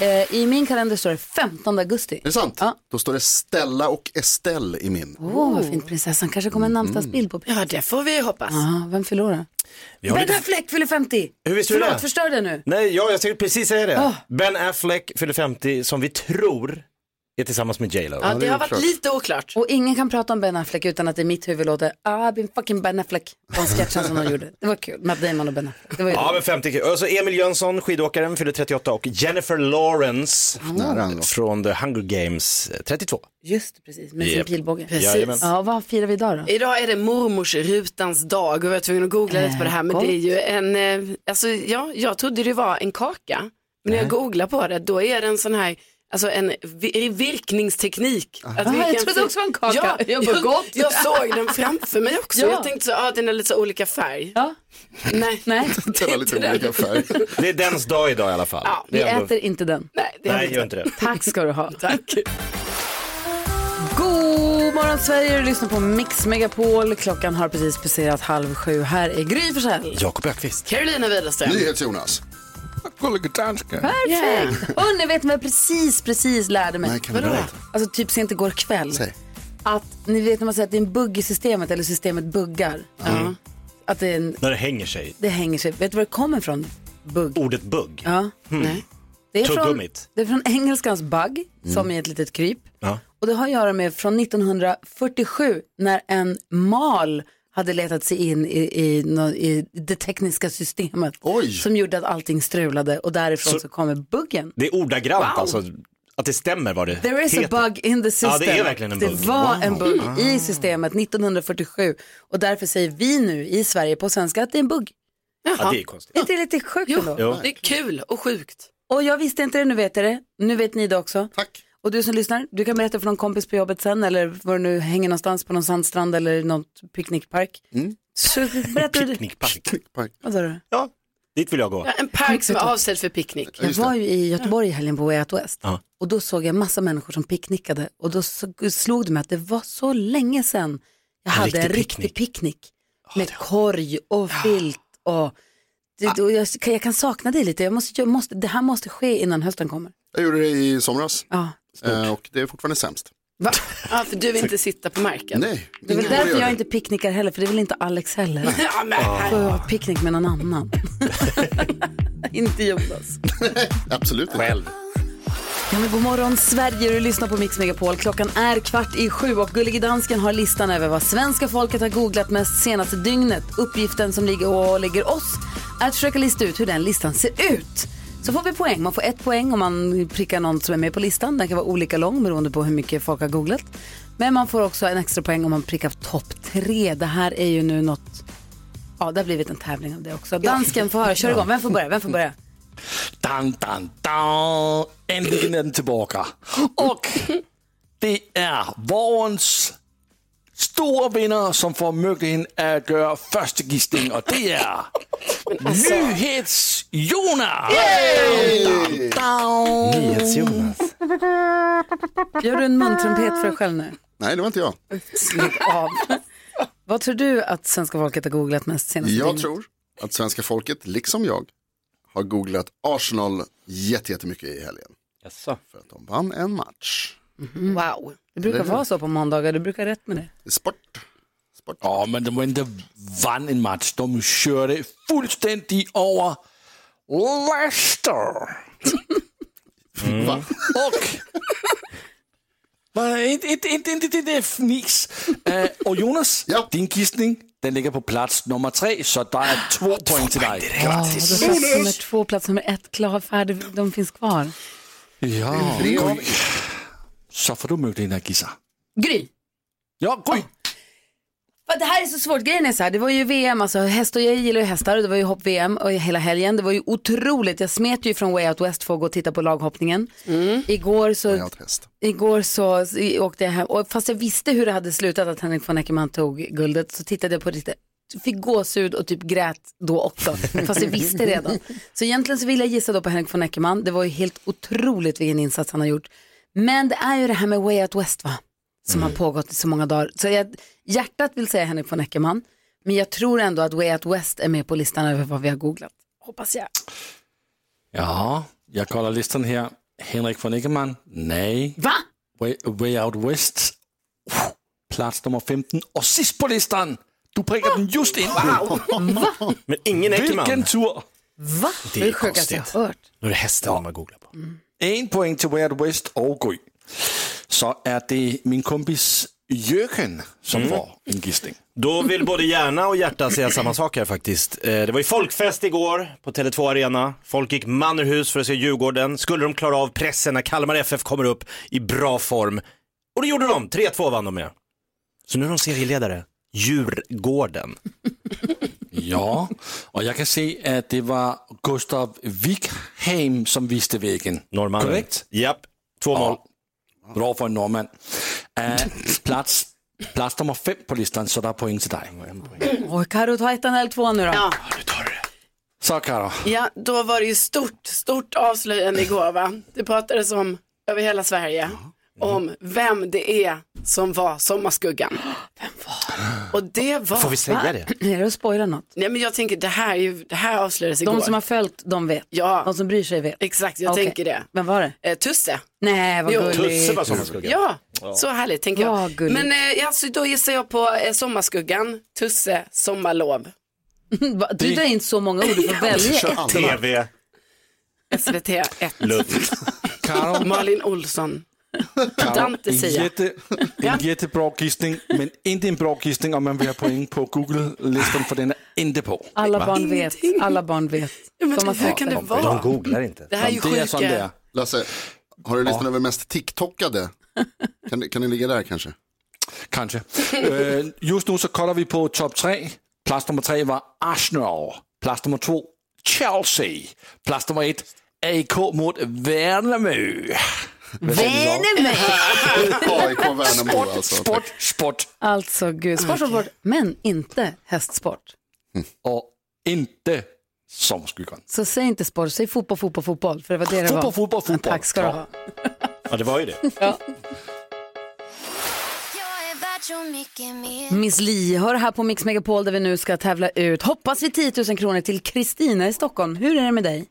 Eh, I min kalender står det 15 augusti. Är det sant? Ja. Då står det Stella och Estelle i min. Åh, oh, vad fint. Prinsessan kanske kommer en namnsdagsbild på. Mm. Ja, det får vi hoppas. Ja, vem förlorar? Vi har Ben lite- Affleck fyller 50! Hur visste du Förlåt, det? förstör det nu. Nej, ja, jag tänkte precis säga det. Ah. Ben Affleck fyller 50 som vi tror är tillsammans med J Lo. Ja, det är har varit oklart. lite oklart. Och ingen kan prata om Ben Affleck utan att det i mitt huvud låter "Ah, I've been fucking Ben Affleck. Den sketchen som de gjorde. Det var kul. Matt Damon och Ben Affleck. Det var ju Ja, men 50 Och så Emil Jönsson, skidåkaren, fyller 38 och Jennifer Lawrence Ah, Nära ändå. från The Hunger Games eh, 32. Just det, precis. Med sin Japp. pilbåge. Jajamän. Ja, vad firar vi idag då? Idag är det mormorslutans dag och jag var tvungen att googla lite på det här. Men Äh, det är ju en, eh, alltså ja, jag trodde det var en kaka. Men när jag googlar på det, då är det en sån här, alltså en vi- virkningsteknik. Att Ah, vi jag kan trodde se- också det var en kaka. Ja, Jag jag, bara, jag, gott. såg den framför mig också. Ja. Jag tänkte så, ja ah, den är lite så olika färg. Ja. Nej, Nej, Det var lite olika färg. Det är dens dag idag i alla fall. Ja, Det vi är ändå- äter inte den. nej, det är Nej, inte. gör inte det. Tack ska du ha. Tack. God morgon Sverige, du lyssnar på Mix Megapol. Klockan har precis passerat halv sju. Här är Gry Forssell. Jakob Ökvist. Carolina Widerström. NyhetsJonas. Perfekt! Hörni, vet ni vad jag precis, precis lärde mig? Nej, kan du berätta? Alltså typ sent igår kväll. Säg. Att ni vet när man säger att det är en bugg i systemet eller systemet buggar. Ja. Att det, är en, Mm. När det hänger sig. det hänger sig. Vet du var det kommer ifrån? Bugg. Ordet bugg. Hmm. Ja. Nej. Det, är från, Tuggummit. det är från engelskans bug, som är ett litet kryp. Mm. Ja. Och det har att göra med från 1947 när en mal hade letat sig in i, i, nå- i det tekniska systemet. Oj. Som gjorde att allting strulade och därifrån så, Så- kommer buggen. Det är ordagrant alltså. Att det stämmer vad det There is a heter. bug in the system. Ja, det är verkligen en Det bugg. Ah. var en bugg i systemet 1947 och därför säger vi nu i Sverige på svenska att det är en bugg. Ja, det är konstigt. Är inte det lite sjukt Jo, ändå? Jo. det är kul och sjukt. Och jag visste inte det, nu vet jag det. Nu vet ni det också. Tack. Och du som lyssnar, du kan berätta för någon kompis på jobbet sen eller var du nu hänger någonstans på någon sandstrand eller i någon picknickpark. Så berättar du. Picknickpark. Tack. Vad sa du? Ja, dit vill jag gå. Ja, en park som är avsedd för picknick. Jag var ju i Göteborg i helgen på Way Out West Ja. och då såg jag massa människor som picknickade och då så- slog det mig att det var så länge sedan jag hade en riktig riktig picknick. picknick med korg och filt och, det, och jag, jag kan sakna det lite. Jag måste, jag måste, det här måste ske innan hösten kommer. Jag gjorde det i somras Ja. eh, och det är fortfarande sämst. Va? Ja, för du vill inte sitta på marken. Nej, Det är väl ingen får därför göra jag det. inte picknickar heller, för det vill inte Alex heller. Ja, men, Får jag ha picknick med någon annan? inte Jonas. Absolut inte. Själv. Ja, men god morgon Sverige, du lyssnar på Mix Megapol. Klockan är kvart i sju och Gullige Dansken har listan över vad svenska folket har googlat mest senaste dygnet. Uppgiften som ligger och ligger oss är att försöka lista ut hur den listan ser ut. Så får vi poäng. Man får ett poäng om man prickar någon som är med på listan. Den kan vara olika lång beroende på hur mycket folk har googlat. Men man får också en extra poäng om man prickar topp tre. Det här är ju nu något... Ja, det har blivit en tävling av det också. Dansken får höra. Kör igång. Vem får börja? Vem får börja? Dan, dan, dan. Äntligen är den tillbaka. Och det är vårens stora vinnare som får möjligheten att göra första gissning och det är alltså- Nyhets-Jonas! Dan, dan. Nyhets-Jonas. Gör du en muntrumpet för dig själv nu? Nej, det var inte jag. Lägg av. Vad tror du att svenska folket har googlat mest senaste Jag dygnet? tror att svenska folket, liksom jag, har googlat Arsenal jätte- jättemycket i helgen. För att de vann en match. wow. Mhm. Det brukar Det- vara så på måndagar, du brukar ha rätt med det. Sport. Sport. Ja, men de var inte vann en match. De körde fullständigt över Leicester. Va? Och... Mm. Va, Inte, inte, inte, inte det där fnix. Eh, och Jonas, Ja. din gissning den ligger på plats nummer tre, så det är två poäng till dig. Grattis! Plats nummer två, plats nummer ett, klar, färdig, de finns kvar. Ja, Tre av- så får du möjligheten att gissa. Gry! Ja, Gry! Va, Det här är så svårt. Grejen är så här, det var ju VM, alltså häst och jag gillar ju hästar och det var ju hopp-VM och hela helgen. Det var ju otroligt. Jag smet ju från Way Out West för att gå och titta på laghoppningen. Igår så... Jag har ett häst. Igår så så åkte jag hem, och fast jag visste hur det hade slutat att Henrik von Eckermann tog guldet så tittade jag på det, fick gåshud och typ grät då också, fast jag visste redan. Så egentligen så vill jag gissa då på Henrik von Eckermann, det var ju helt otroligt vilken insats han har gjort. Men det är ju det här med Way Out West va, som Mm. har pågått i så många dagar. Så jag, hjärtat vill säga Henrik von Eckermann, men jag tror ändå att Way Out West är med på listan över vad vi har googlat. Hoppas jag. Ja, jag kollar listan här. Henrik von Eckermann, nej. Va? Way, Way Out West, plats nummer 15. Och sist på listan, du prickar den just in. Men ingen Vilken Eckermann. tur! Va? Det är det sjukaste jag har hört. Nu är det hästen man googlar på. Mm. En poäng till Way Out West och Gry. Så är det min kompis Jörgen som får en gissning. Då vill både hjärna och hjärta säga samma sak här faktiskt. Eh, Det var ju folkfest igår på Tele2 Arena. Folk gick man ur hus för att se Djurgården. Skulle de klara av pressen när Kalmar FF kommer upp i bra form? Och det gjorde de. 3-2 vann de med. Så nu är de serieledare. Djurgården. Ja, och jag kan se att det var Gustav Wikheim som visste vägen. Norrmannen. Korrekt? Japp. Två mål. Ja. Bra för en norrman. Eh, plats, plats nummer fem på listan, så där är poäng till dig. Oj, Carro ta ettan eller tvåan nu då. Ja. Så Karo, Ja, då var det ju stort, stort avslöjande igår va? Det pratades om, över hela Sverige, Mm. om vem det är som var sommarskuggan. Vem var Och det var... Får vi säga det? Är det att spoila något? Nej men jag tänker, det här, är ju, det här avslöjades igår. De som har följt, de vet. Ja. De som bryr sig vet. Exakt, jag Okej. tänker det. Vem var det? Eh, Tusse. Nej, vad Jo. gulligt. var sommarskugga. Ja, så härligt tänker jag. Vad gulligt. men eh, alltså, då gissar jag på eh, Sommarskuggan, Tusse, Sommarlov, Va, Du drar in så många ord, du får välja ett. TV, SVT 1, luft. Karo, Malin Olsson. Dante en, säger. jätte, en jättebra gissning, men inte en bra gissning om man vill ha poäng på Google-listan, för den är inte på. Alla barn vet, alla barn vet. Ja, De har men, hur fått kan det det. vara? googlar inte. Det här är ju Men det är som det är. sjuka. Lasse, har du listan över mest TikTokade? Kan, det- kan det ligga där kanske? Kanske. Eh, just nu så kollar vi på topp tre. Plats nummer tre var Arsenal. Plats nummer två, Chelsea. Plats nummer ett, AIK mot Värnamo. Vänner AIK Värnamo Sport, alltså. sport, sport. Alltså gud, sport som sport, men inte hästsport. Mm. Och inte sommarskuggan. Så säg inte sport, säg fotboll, fotboll, fotboll. För det var det det var. Fotboll, fotboll, fotboll. Tack ska du ha. Ja, det var ju det. Jag är värd så mycket mer Miss Li hör här på Mix Megapol där vi nu ska tävla ut, hoppas vi 10 000 kronor till Kristina i Stockholm. Hur är det med dig?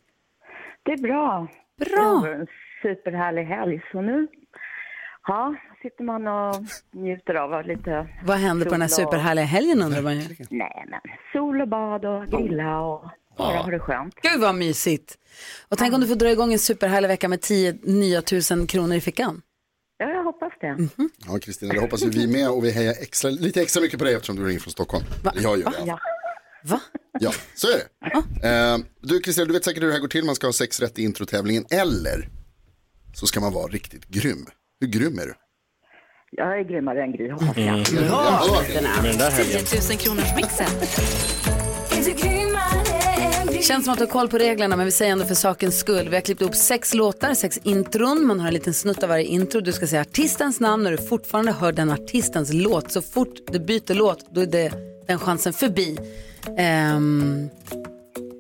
Det är bra. Bra. En superhärlig helg. Så nu ja, sitter man och njuter av lite Vad händer på den här Sol och- superhärliga helgen undrar man ju. nej, men, sol och bad och grilla och bara ha det skönt. Gud vad mysigt. Och tänk om du får dra igång en superhärlig vecka med 10 nya tusen kronor i fickan. Mhm. Ja, jag hoppas det. Ja, Kristina, det hoppas ju vi med och vi hejar extra, lite extra mycket på dig eftersom du ringer från Stockholm. Eller Jag gör det. Ja. Va? Ja, så är det. Eh, du Kristina, du vet säkert hur det här går till. Man ska ha sex rätt i introtävlingen eller så ska man vara riktigt grym. Hur grym är du? Jag är grymmare än Gry, hoppas jag. Mm. Ja, okej. 10 000 kronors mixen. Är du grymmare än Gry? Känns som att du har koll på reglerna men vi säger ändå för sakens skull. Vi har klippt upp sex låtar, sex intron. Man har en liten snutt av varje intro. Du ska säga artistens namn när du fortfarande hör den artistens låt. Så fort du byter låt då är det den chansen förbi. Ehm,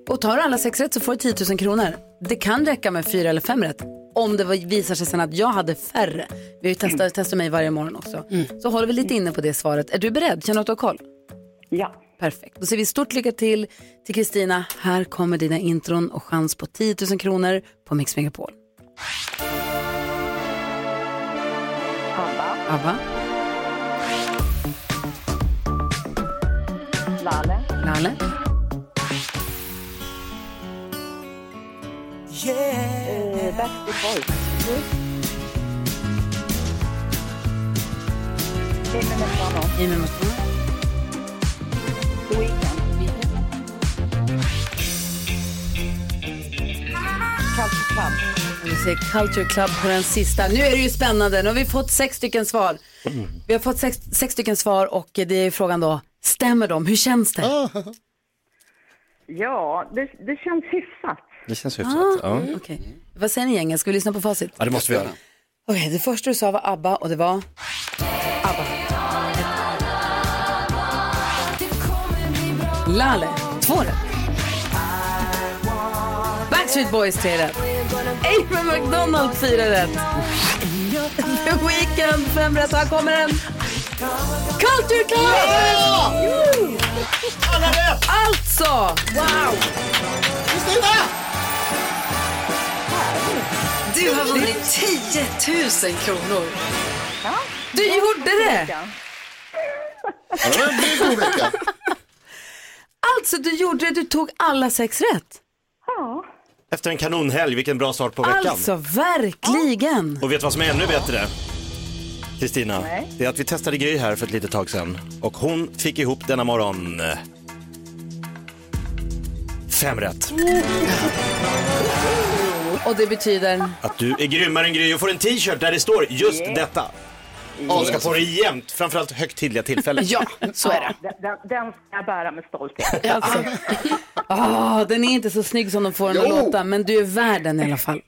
och tar du alla sex rätt så får du 10 000 kronor. Det kan räcka med fyra eller fem rätt. Om det var- visar sig sen att jag hade färre. Vi har ju testat, testar mig varje morgon också. Så håller vi lite inne på det svaret. Är du beredd? Känner du att du har koll? Ja. Perfekt. Då säger vi stort lycka till till Kristina. Här kommer dina intron och chans på 10 000 kronor på Mix Megapol. Abba, Abba, Lalle, Lalle, eh, Backstreet Boys. Jimmy McDonald, Jimmy Mustang, The Weeknd. Culture Club. och vi säger Culture Club på den sista. Nu är det ju Mm. spännande. Nu har vi fått sex stycken svar. Vi har fått sex, sex stycken svar och det är frågan då. Stämmer de? Hur känns det? Ja, det, det känns hyfsat. Det känns Ah, okej. Vad säger ni gängen? Ska vi lyssna på facit? Ja, det måste vi göra. Okej, det första du sa var ABBA och det var? ABBA. Laleh, två rätt. Backstreet Boys, tre rätt. Amy McDonald, fyra rätt. The Weeknd, fem rätt. Och Här kommer den. Culture Club! Woo! Alltså, wow! Du har vunnit 10 000 kronor. Du gjorde det! Alltså, du gjorde det. Du tog alla sex rätt. Efter en kanonhelg, vilken bra start på veckan. Alltså, verkligen. Och vet du vad som är ännu bättre? Kristina, det är att vi testade Gry här för ett litet tag sedan och hon fick ihop denna morgon eh, fem rätt. Och det betyder? Att du är grymmare än Gry och får en t-shirt där det står just Yeah. detta. Yeah. Du ska få det jämt, framförallt högtidliga tillfällen. Ja, den, den ska jag bära med stolthet. alltså. Ah, den är inte så snygg som de får den att Jo. låta, men du är värd den i alla fall.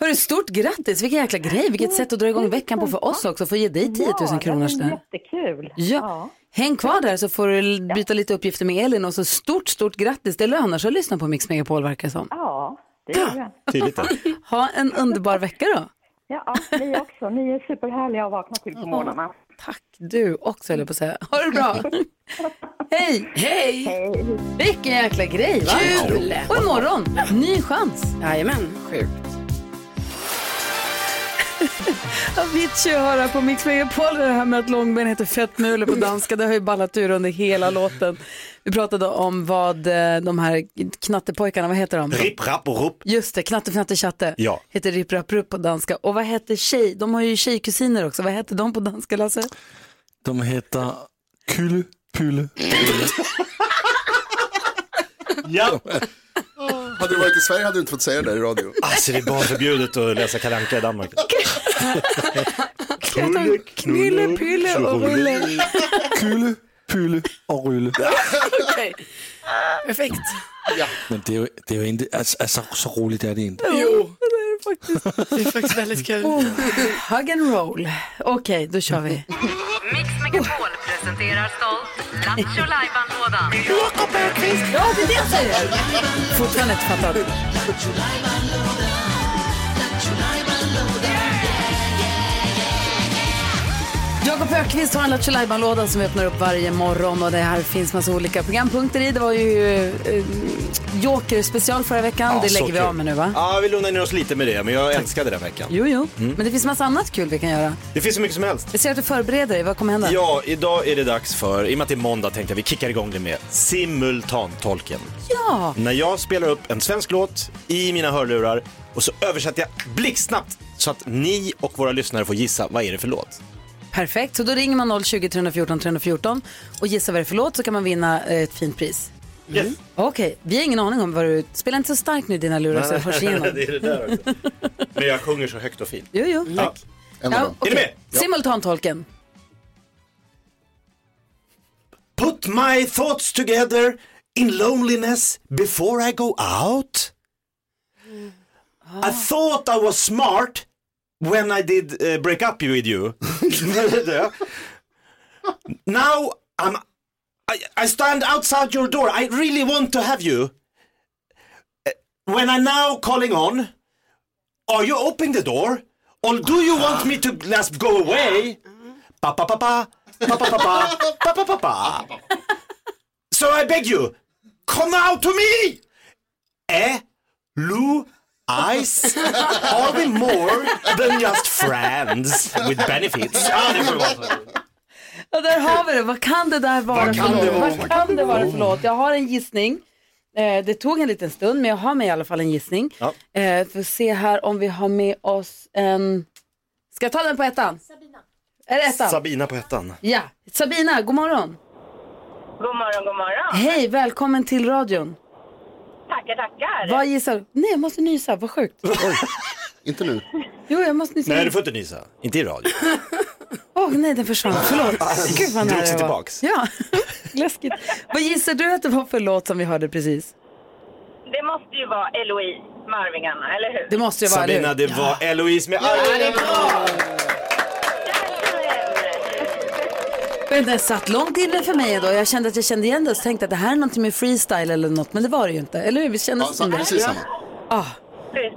Hörru, stort grattis! Vilken jäkla grej! Vilket sätt att dra igång veckan på för oss också. Få ge dig 10 000 kronor där. Jättekul. Ja. Häng kvar där så får du l- byta lite uppgifter med Elin och så stort, stort grattis. Det lönar sig att lyssna på Mix Megapol verkar det som. Ja, det gör jag. Tydligt då. Ha en underbar vecka då. Ja, ni också. Ni är superhärliga att vakna till på morgnarna. Du också höll jag på att säga. Ha det bra! Hej! Hej! Vilken jäkla grej va? Kul! Och imorgon, ny chans! Jajamän, sjukt. Avicii har här på Mix Megapol. Det här med att långben heter fettmule på danska, det har ju ballat ur under hela låten. Vi pratade om vad eh, de här knattepojkarna, vad heter de? Ripp, rapp och rupp. Just det, Knatte Fnatte Tjatte Ja. heter Ripp Rapp Rupp på danska. Och vad hette tjej? De har ju tjejkusiner också. Vad hette de på danska, Lasse? De heter Kylle Pylle. ja. Hade du varit i Sverige hade du inte fått säga det där i radio. Alltså det är barnförbjudet att läsa Kalle Anka i Danmark. Knulle, knulle, pylle och rulle. Kylle Pylle och Rylle. Okej. Perfekt. Men det är ju, det är ju inte, alltså, alltså så roligt är det inte. Jo. Det är faktiskt väldigt kul. hug and roll. Okej, då kör vi. Mix Megapol presenterar stolt Lattjo Lajban-lådan. Jakob Bergqvist! Ja, det är det jag säger! Fortfarande inte fattat. Jakob Högqvist har en Lattjo Lajban-låda som vi öppnar upp varje morgon och det här finns massa olika programpunkter i. Det var ju eh, Joker special förra veckan, Ja, det så lägger vi kul. av med nu va? Ja, vi lugnar ner oss lite med det, men jag älskade den veckan. Jo, jo. Men det finns massa annat kul vi kan göra. Det finns så mycket som helst. Jag ser att du förbereder dig, vad kommer hända? Ja, idag är det dags för, i och med att det är måndag tänkte jag vi kickar igång det med simultantolken. Ja! När jag spelar upp en svensk låt i mina hörlurar och så översätter jag blixtsnabbt så att ni och våra lyssnare får gissa vad är det för låt. Perfekt, så då ringer man 020 314 314 och gissar vad det är för låt så kan man vinna eh, ett fint pris. Mm. Yes. Okej, vi har ingen aning om vad du... Spela inte så starkt nu dina lurar så det hörs igenom. det är det där också. Men jag sjunger så högt och fint. Jo, jo. Ja. Ja, Är ni med? okej. Simultantolken. Put my thoughts together in loneliness before I go out. I thought I was smart when I did eh, break up with you. now I'm, I, I stand outside your door. I really want to have you. Eh, When I now calling on, are you opening the door? Or do you want me to just go away? Pa pa pa pa, pa pa pa pa, pa pa pa pa. So I beg you, come out to me! Eh, Lou, Ice, are we more than just friends with benefits? Ja, det får det vara. Ja, där har vi det. Vad kan det där vara Vad kan för det vara? Vad kan det vara för låt? Jag har en gissning. Eh, det tog en liten stund, men jag har med i alla fall en gissning. Ja. Eh, får se här om vi har med oss en... Ska jag ta den på ettan? Sabina. Är det ettan? Sabina på ettan. ja. Sabina, god morgon. God morgon, god morgon. Hej, välkommen till radion. Tackar, tackar. Vad gissar du? Nej, jag måste nysa. Vad sjukt. Inte nu. Jo, jag måste nysa. Nej, du får inte nysa. Inte i radio. Åh nej, den försvann. Förlåt. Gud vad nära Drog sig det var. tillbaks. Ja, läskigt. Vad gissar du att det var för låt som vi hörde precis? Det måste ju vara Eloise med Arvingarna, eller hur? Det måste ju vara, eller Sabina, hur? det var Eloise med Arvingarna. Men Den satt långt inne för mig då. Jag kände att jag kände igen det och så tänkte jag att det här är någonting med freestyle eller något. Men det var det ju inte. Eller hur? Vi kändes Ja, som det. precis samma. Mm. Ah, Precis,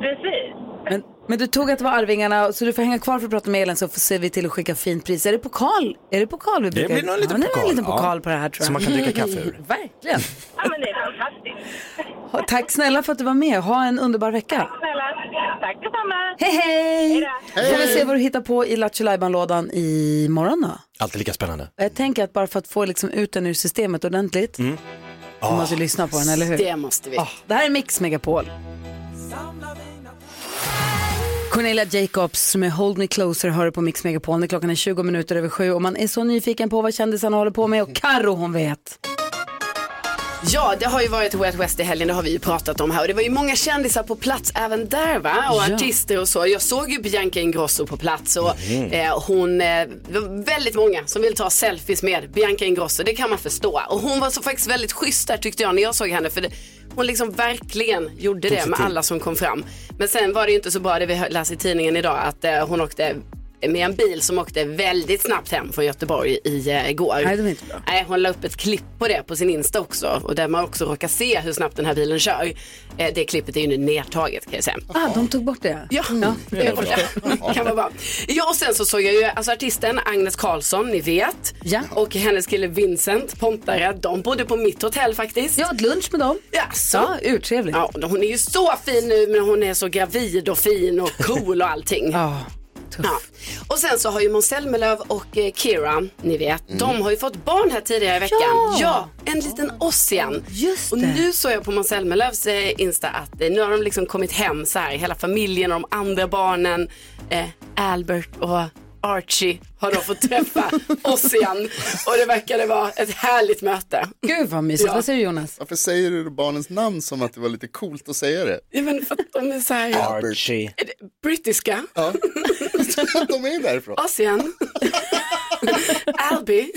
precis. men, men du tog att det var Arvingarna så du får hänga kvar för att prata med Elin så får se vi till att skicka fint pris. Är det pokal? Är det pokal vi brukar? blir nog en liten ja, Det är en pokal, liten ja. pokal på det här tror jag. Som man kan dricka kaffe ur. Verkligen. Ja, men det är fantastiskt. Ha- Tack snälla för att du var med. Ha en underbar vecka. Snälla, tack detsamma. Hej hej! då. Då får vi se vad du hittar på i Lattjo lajban-lådan imorgon då. Alltid lika spännande. Och Jag tänker att bara för att få liksom ut den ur systemet ordentligt. Mm. Man måste ju lyssna på den, eller hur? Det måste vi. Ah, det här är Mix Megapol. Cornelia Jacobs med Hold Me Closer hör du på Mix Megapol när klockan är 20 minuter över sju och man är så nyfiken på vad kändisarna håller på med och Karo hon vet. Ja, det har ju varit Wet West i helgen, det har vi ju pratat om här. Och det var ju många kändisar på plats även där va? Och Ja. artister och så. Jag såg ju Bianca Ingrosso på plats och Mm. eh, hon, eh, det var väldigt många som ville ta selfies med Bianca Ingrosso, det kan man förstå. Och hon var så faktiskt väldigt schysst där tyckte jag när jag såg henne. För det, hon liksom verkligen gjorde Tog det sig med tid. alla som kom fram. Men sen var det ju inte så bra det vi hör- läste i tidningen idag att eh, hon åkte med en bil som åkte väldigt snabbt hem från Göteborg i, eh, igår. Nej, det var inte bra. Nej, hon la upp ett klipp på det på sin Insta också och där man också råkar se hur snabbt den här bilen kör. Eh, Det klippet är ju nu nedtaget kan jag säga. Ah, de tog bort det? Ja, det Mm. är borta. kan vara bra. Ja, och sen så såg jag ju alltså artisten Agnes Karlsson, ni vet. Ja. Och hennes kille Vincent Pontare, de bodde på mitt hotell faktiskt. Jag åt lunch med dem. Jaså? Ja, urtrevligt. Ja, hon är ju så fin nu, men hon är så gravid och fin och cool och allting. ja, Och sen så har ju Måns Zelmerlöw och eh, Kira, ni vet, Mm. de har ju fått barn här tidigare i veckan. Ja. en liten Ossian. Just och nu såg jag på Måns Zelmerlöws eh, Insta att eh, nu har de liksom kommit hem så här, hela familjen och de andra barnen, eh, Albert och Archie har då fått träffa Ossian och det verkade vara ett härligt möte. Gud vad mysigt. Vad säger du Jonas? Varför säger du barnens namn som att det var lite coolt att säga det? Ja, men för att de är så här, Archie. brittiska. Ja. de är därifrån. Ossian. Albi.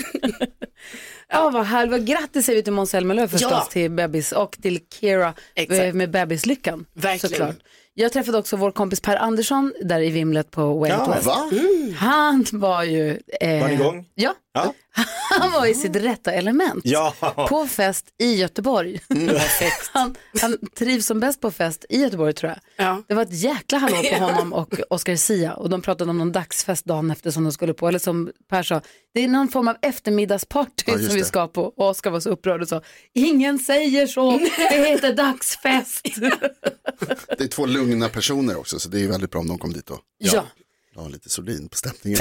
Ja, vad härligt. Vad Grattis säger vi till Måns Zelmerlöw förstås, Ja. till bebis och till Kira Exakt. eh, med bebislyckan. Verkligen. Såklart. Jag träffade också vår kompis Per Andersson där i vimlet på Way Ja, Out West. va? Han var ju... eh, Var ni igång? Ja, Ja. han var i sitt rätta element. Ja. På fest i Göteborg. Mm, Han, han trivs som bäst på fest i Göteborg tror jag. Det var ett jäkla hallå på honom och Oscar Sia och de pratade om någon dagsfest dagen efter som de skulle på. Eller som Per sa, det är någon form av eftermiddagsparty Ja, just som vi det. ska på. Och Oscar var så upprörd och sa, ingen säger så, det heter dagsfest. Det är två lugna personer också, så det är ju väldigt bra om de kom dit och ja. la lite solin på stämningen.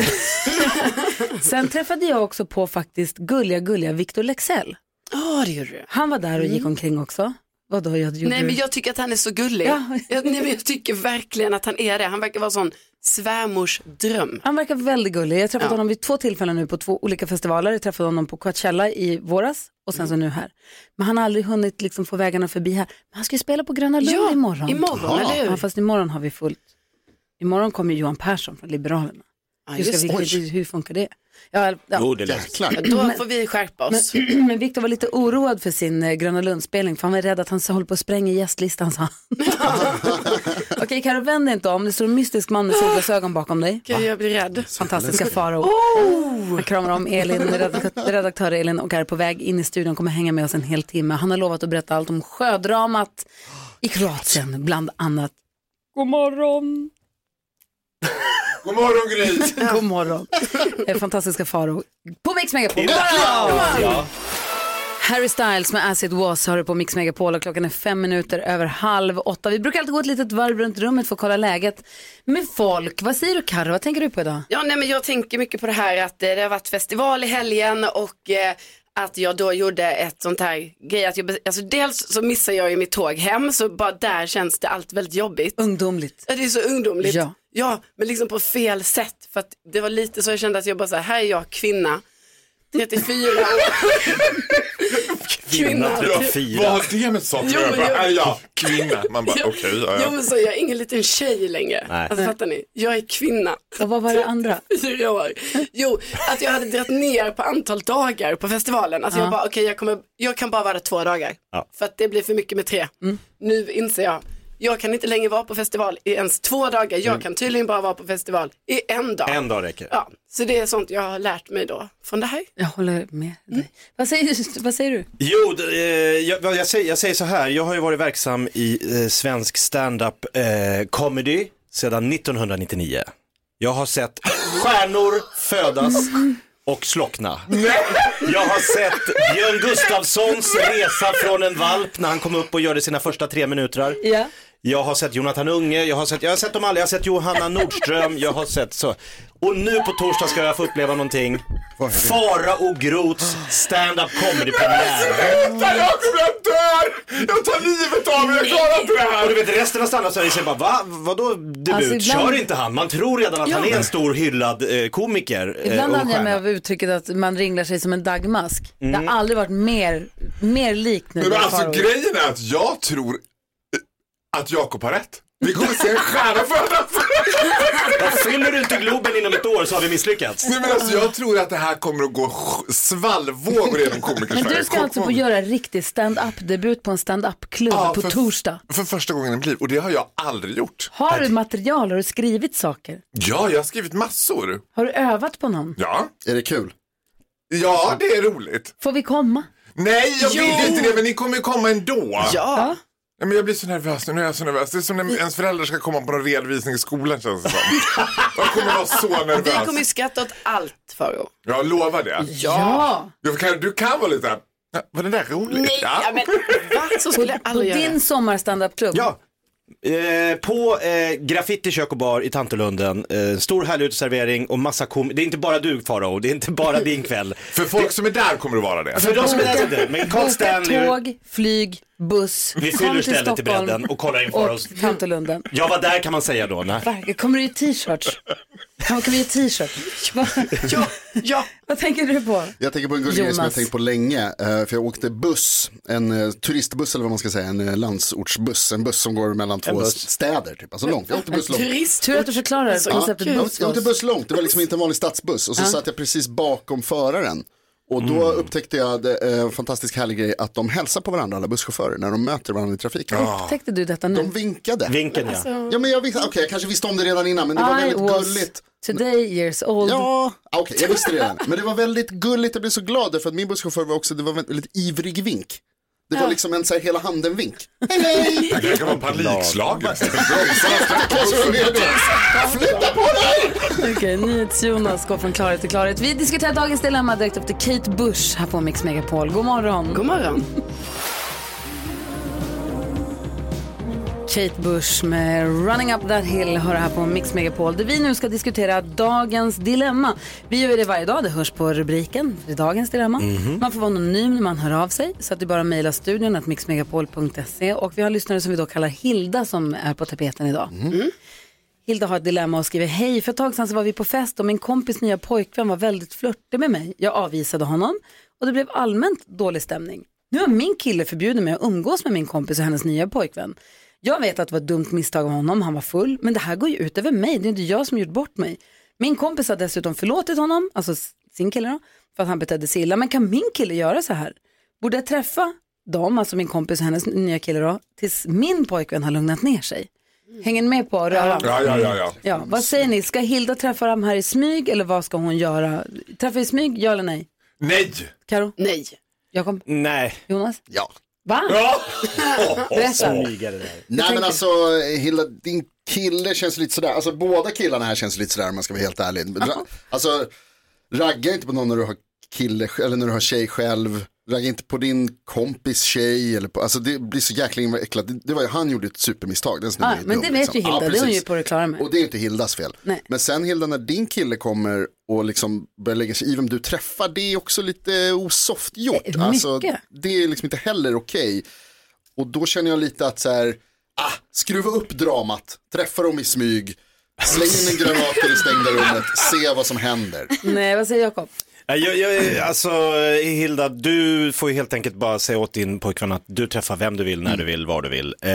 Sen träffade jag också på faktiskt gulliga, gulliga Victor Lexell. Ja, det gjorde du. Mm. Han var där och gick omkring också. Vadå, jag gjorde Nej men jag tycker att han är så gullig. Ja. Jag, nej, men jag tycker verkligen att han är det. Han verkar vara sån svärmors dröm. Han verkar väldigt gullig. Jag träffade Ja. honom vid två tillfällen nu på två olika festivaler. Jag träffade honom på Coachella i våras och Mm. sen så nu här. Men han har aldrig hunnit liksom få vägarna förbi här. Men han ska ju spela på Gröna Lund Ja, imorgon. imorgon, Jaha. eller hur? Ja, fast imorgon har vi fullt. Imorgon kommer Johan Persson från Liberalerna. Ja, hur, ska Ah, just vi, det. hur funkar det? Ja, ja. Jo, det lät- Jäklar. Då får vi skärpa oss. Men, men Victor var lite oroad för sin eh, Gröna Lund-spelning för han var rädd att han håller på att spränga gästlistan sa han. Okej Carro vänd dig inte om, det står en mystisk man med solglasögon bakom dig. Gud, jag blir rädd. Fantastiska Farao. Han kramar om Elin, redakt- redaktör Elin och är på väg in i studion, kommer hänga med oss en hel timme. Han har lovat att berätta allt om sjödramat i Kroatien, bland annat. God morgon! God morgon Gry! God morgon. Eh, Fantastiska Farao. På Mix Megapol. God morgon! Ja. Harry Styles med Acid Was hör du på Mix Megapol och klockan är fem minuter över halv åtta. Vi brukar alltid gå ett litet varv runt rummet för att kolla läget med folk. Vad säger du Carro, vad tänker du på idag? Ja, nej, men jag tänker mycket på det här att eh, det har varit festival i helgen och eh, att jag då gjorde ett sånt här grej. Att jag, bes- alltså, dels så missar jag ju mitt tåg hem så bara där känns det allt väldigt jobbigt. Ungdomligt. Ja, det är så ungdomligt. Ja. ja, men liksom på fel sätt. För att det var lite så jag kände att jag bara så här, här är jag kvinna, 34 år. Kvinna. Ja, vad har det med saker att Jo, göra? men jag- Bara, "Ah, Ja, kvinna. Man bara, okej, ja, Jo men så, jag är ingen liten tjej längre. Nej. Alltså fattar ni? Jag är kvinna. Och vad var det andra? Fyra år. Jo, att jag hade dragit ner på antal dagar på festivalen. Alltså Ja. jag bara, okej jag, kommer- jag kan bara vara där två dagar. Ja. För att det blir för mycket med tre. Mm. Nu inser jag, jag kan inte längre vara på festival i ens två dagar. Jag Mm. kan tydligen bara vara på festival i en dag. En dag räcker. Ja, så det är sånt jag har lärt mig då från det här. Mm. Jag håller med dig. Vad, säger, vad säger du? Jo, d- eh, jag, vad jag, säger, jag säger så här, jag har ju varit verksam i eh, svensk stand-up eh, comedy sedan 1999. Jag har sett stjärnor födas och slockna. Jag har sett Björn Gustafssons resa från en valp när han kom upp och gjorde sina första tre minuter. Ja. Jag har sett Jonathan Unge, jag har sett, jag har sett dem alla, jag har sett Johanna Nordström, jag har sett så. Och nu på torsdag ska jag få uppleva någonting. Fara och Groths stand-up comedy-premiär. Sluta, Jakob, jag dör! Jag tar livet av mig, jag klarar inte det här! Och du vet resten av standup-serien säger bara va, vadå debut, Alltså, ibland- kör inte han? Man tror redan att Ja. han är en stor hyllad eh, komiker. eh, Ibland och använder jag stjärna. mig av uttrycket att man ringlar sig som en dagmask. Det Mm. har aldrig varit mer, mer likt nu. Men alltså grejen är att jag tror eh, att Jakob har rätt. Vi kommer se en stjärna födas. Och Fyller du inte Globen inom ett år så har vi misslyckats. Nej men alltså jag tror att det här kommer att gå sj- svallvågor genom Men komikersverige. du ska alltså få göra riktig stand-up-debut på en stand-up-klubb Ja, på för- torsdag. För första gången i mitt liv och det har jag aldrig gjort. Har du material? Har du skrivit saker? Ja, jag har skrivit massor. Har du övat på någon? Ja. Är det kul? Ja, det är roligt. Får vi komma? Nej, jag Jo. vill inte det, men ni kommer ju komma ändå. Ja. Nej, men jag blir så nervös nu, nu är jag så nervös. Det är som när ens föräldrar ska komma på någon redovisning i skolan känns det som. Jag kommer vara så Vi kommer ju nervös. skratta åt allt Farao. Jag lovar det. Ja. Du kan, du kan vara lite, här, "Ja, var det där roligt? Nej, ja, men va? Så skulle jag På aldrig göra. din sommarstandup-klubb? Ja. Eh, på eh, Graffiti kök och bar i Tantelunden, eh, stor härlig uteservering och massa kom Det är inte bara du Farao, det är inte bara din kväll. För folk som är där kommer det vara det. För de som är där sitter det. Men Carl Åka Stanley, tåg, flyg, buss. Vi Kom fyller till stället i Stockholm bredden och kollar in och Faraos. Tantelunden. Jag var där kan man säga då. Nej. Verkligen. Kommer du i t-shirts? Kan kan vi i t-shirts? Va- Vad tänker du på? Jag tänker på en gullig grej som jag Jonas. har tänkt på länge. eh, För jag åkte buss, en eh, turistbuss eller vad man ska säga, en eh, landsortsbuss. En buss som går mellan två buss. städer, typ. alltså långt. Jag åkte buss långt. Tur att du förklarar konceptet jag, buss. för jag åkte oss. buss långt, det var liksom inte en vanlig stadsbuss. Och så Ja. Mm. satt jag precis bakom föraren. Och då upptäckte jag det, eh, en fantastisk härlig grej att de hälsar på varandra, alla busschaufförer, när de möter varandra i trafiken. Upptäckte du detta nu? Ah. De vinkade. Vinken ja. Ja men jag visste, okej jag kanske visste om det redan innan men det var I väldigt was gulligt. today years old. Ja, Ah, okej jag visste det redan. Men det var väldigt gulligt, jag blev så glad för att min busschaufför var också, det var en väldigt ivrig vink. Det var Ja. liksom en så här hela handen-vink. Hej hej! Det kan vara panikslagen. Flytta på dig! Okej, NyhetsJonas går från klarhet till klarhet. Vi diskuterar dagens dilemma direkt efter Kate Bush här på Mix Megapol. God morgon. God morgon. Kate Bush med Running Up That Hill hör här på Mix Megapol där vi nu ska diskutera dagens dilemma. Vi gör det varje dag, det hörs på rubriken, det är dagens dilemma. Mhm. Man får vara anonym när man hör av sig så att du bara mejlar studion att mixmegapol.se och vi har en lyssnare som vi då kallar Hilda som är på tapeten idag. Mhm. Hilda har ett dilemma och skriver hej, för ett tag sedan så var vi på fest och min kompis nya pojkvän var väldigt flörtig med mig. Jag avvisade honom och det blev allmänt dålig stämning. Nu har min kille förbjudit mig att umgås med min kompis och hennes nya pojkvän. Jag vet att det var ett dumt misstag av honom, han var full, men det här går ju ut över mig, det är inte jag som gjort bort mig. Min kompis har dessutom förlåtit honom, alltså s- sin kille då, för att han betedde sig illa, men kan min kille göra så här? Borde jag träffa dem, alltså min kompis och hennes nya kille då, tills min pojkvän har lugnat ner sig? Hänger ni med på röran? Ja, ja, ja, ja. Ja, vad säger ni? Ska Hilda träffa dem här i smyg eller vad ska hon göra? Träffa i smyg, ja eller nej? Nej! Karo? Nej. Mm. Jakob? Nej. Jonas? Ja. Va? Ja. Berätta. Nej tänker- men alltså Hilda, din kille känns lite sådär, alltså båda killarna här känns lite sådär om man ska vara helt ärlig. Ra- alltså ragga inte på någon när du har kille eller när du har tjej själv. Ragga inte på din kompis tjej eller på, alltså det blir så jäkla invecklat. Det, det var ju, han gjorde ett supermisstag. Den snubben Ah, är men dum, det vet ju liksom. Hilda, det är hon ju precis. på det klara med. Och det är inte Hildas fel. Nej. Men sen Hilda, när din kille kommer och liksom börjar lägga sig i vem du träffar, det är också lite osoft gjort. Eh, mycket. det är liksom inte heller okej. Och då känner jag lite att så här, ah, skruva upp dramat, träffa dem i smyg, släng in en granat i det stängda rummet, se vad som händer. Nej, vad säger Jakob? Jag, jag, alltså Hilda, du får ju helt enkelt bara säga åt din pojkvän att du träffar vem du vill, när du vill, var du vill. Eh,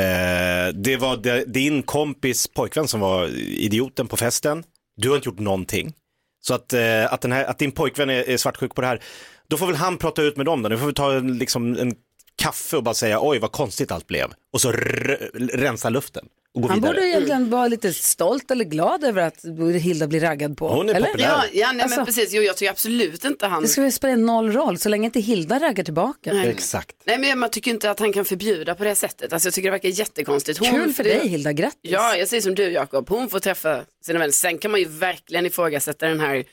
det var de, din kompis pojkvän som var idioten på festen. Du har inte gjort någonting. Så att, eh, att, den här, att din pojkvän är, är svartsjuk på det här, då får väl han prata ut med dem då. Nu får vi ta en, liksom, en kaffe och bara säga oj vad konstigt allt blev. Och så r- rensa luften och gå Han vidare. borde egentligen vara lite stolt eller glad över att Hilda blir raggad på. Hon är eller? populär. Ja, ja nej, Alltså- men precis. Jo, jag tycker absolut inte han... Det skulle spela noll roll så länge inte Hilda raggar tillbaka. Nej. Nej, men man tycker inte att han kan förbjuda på det sättet. Alltså, jag tycker det verkar jättekonstigt. Hon- Kul för det- dig Hilda, grattis. Ja, jag säger som du Jakob. Hon får träffa sina vänner. Sen kan man ju verkligen ifrågasätta den här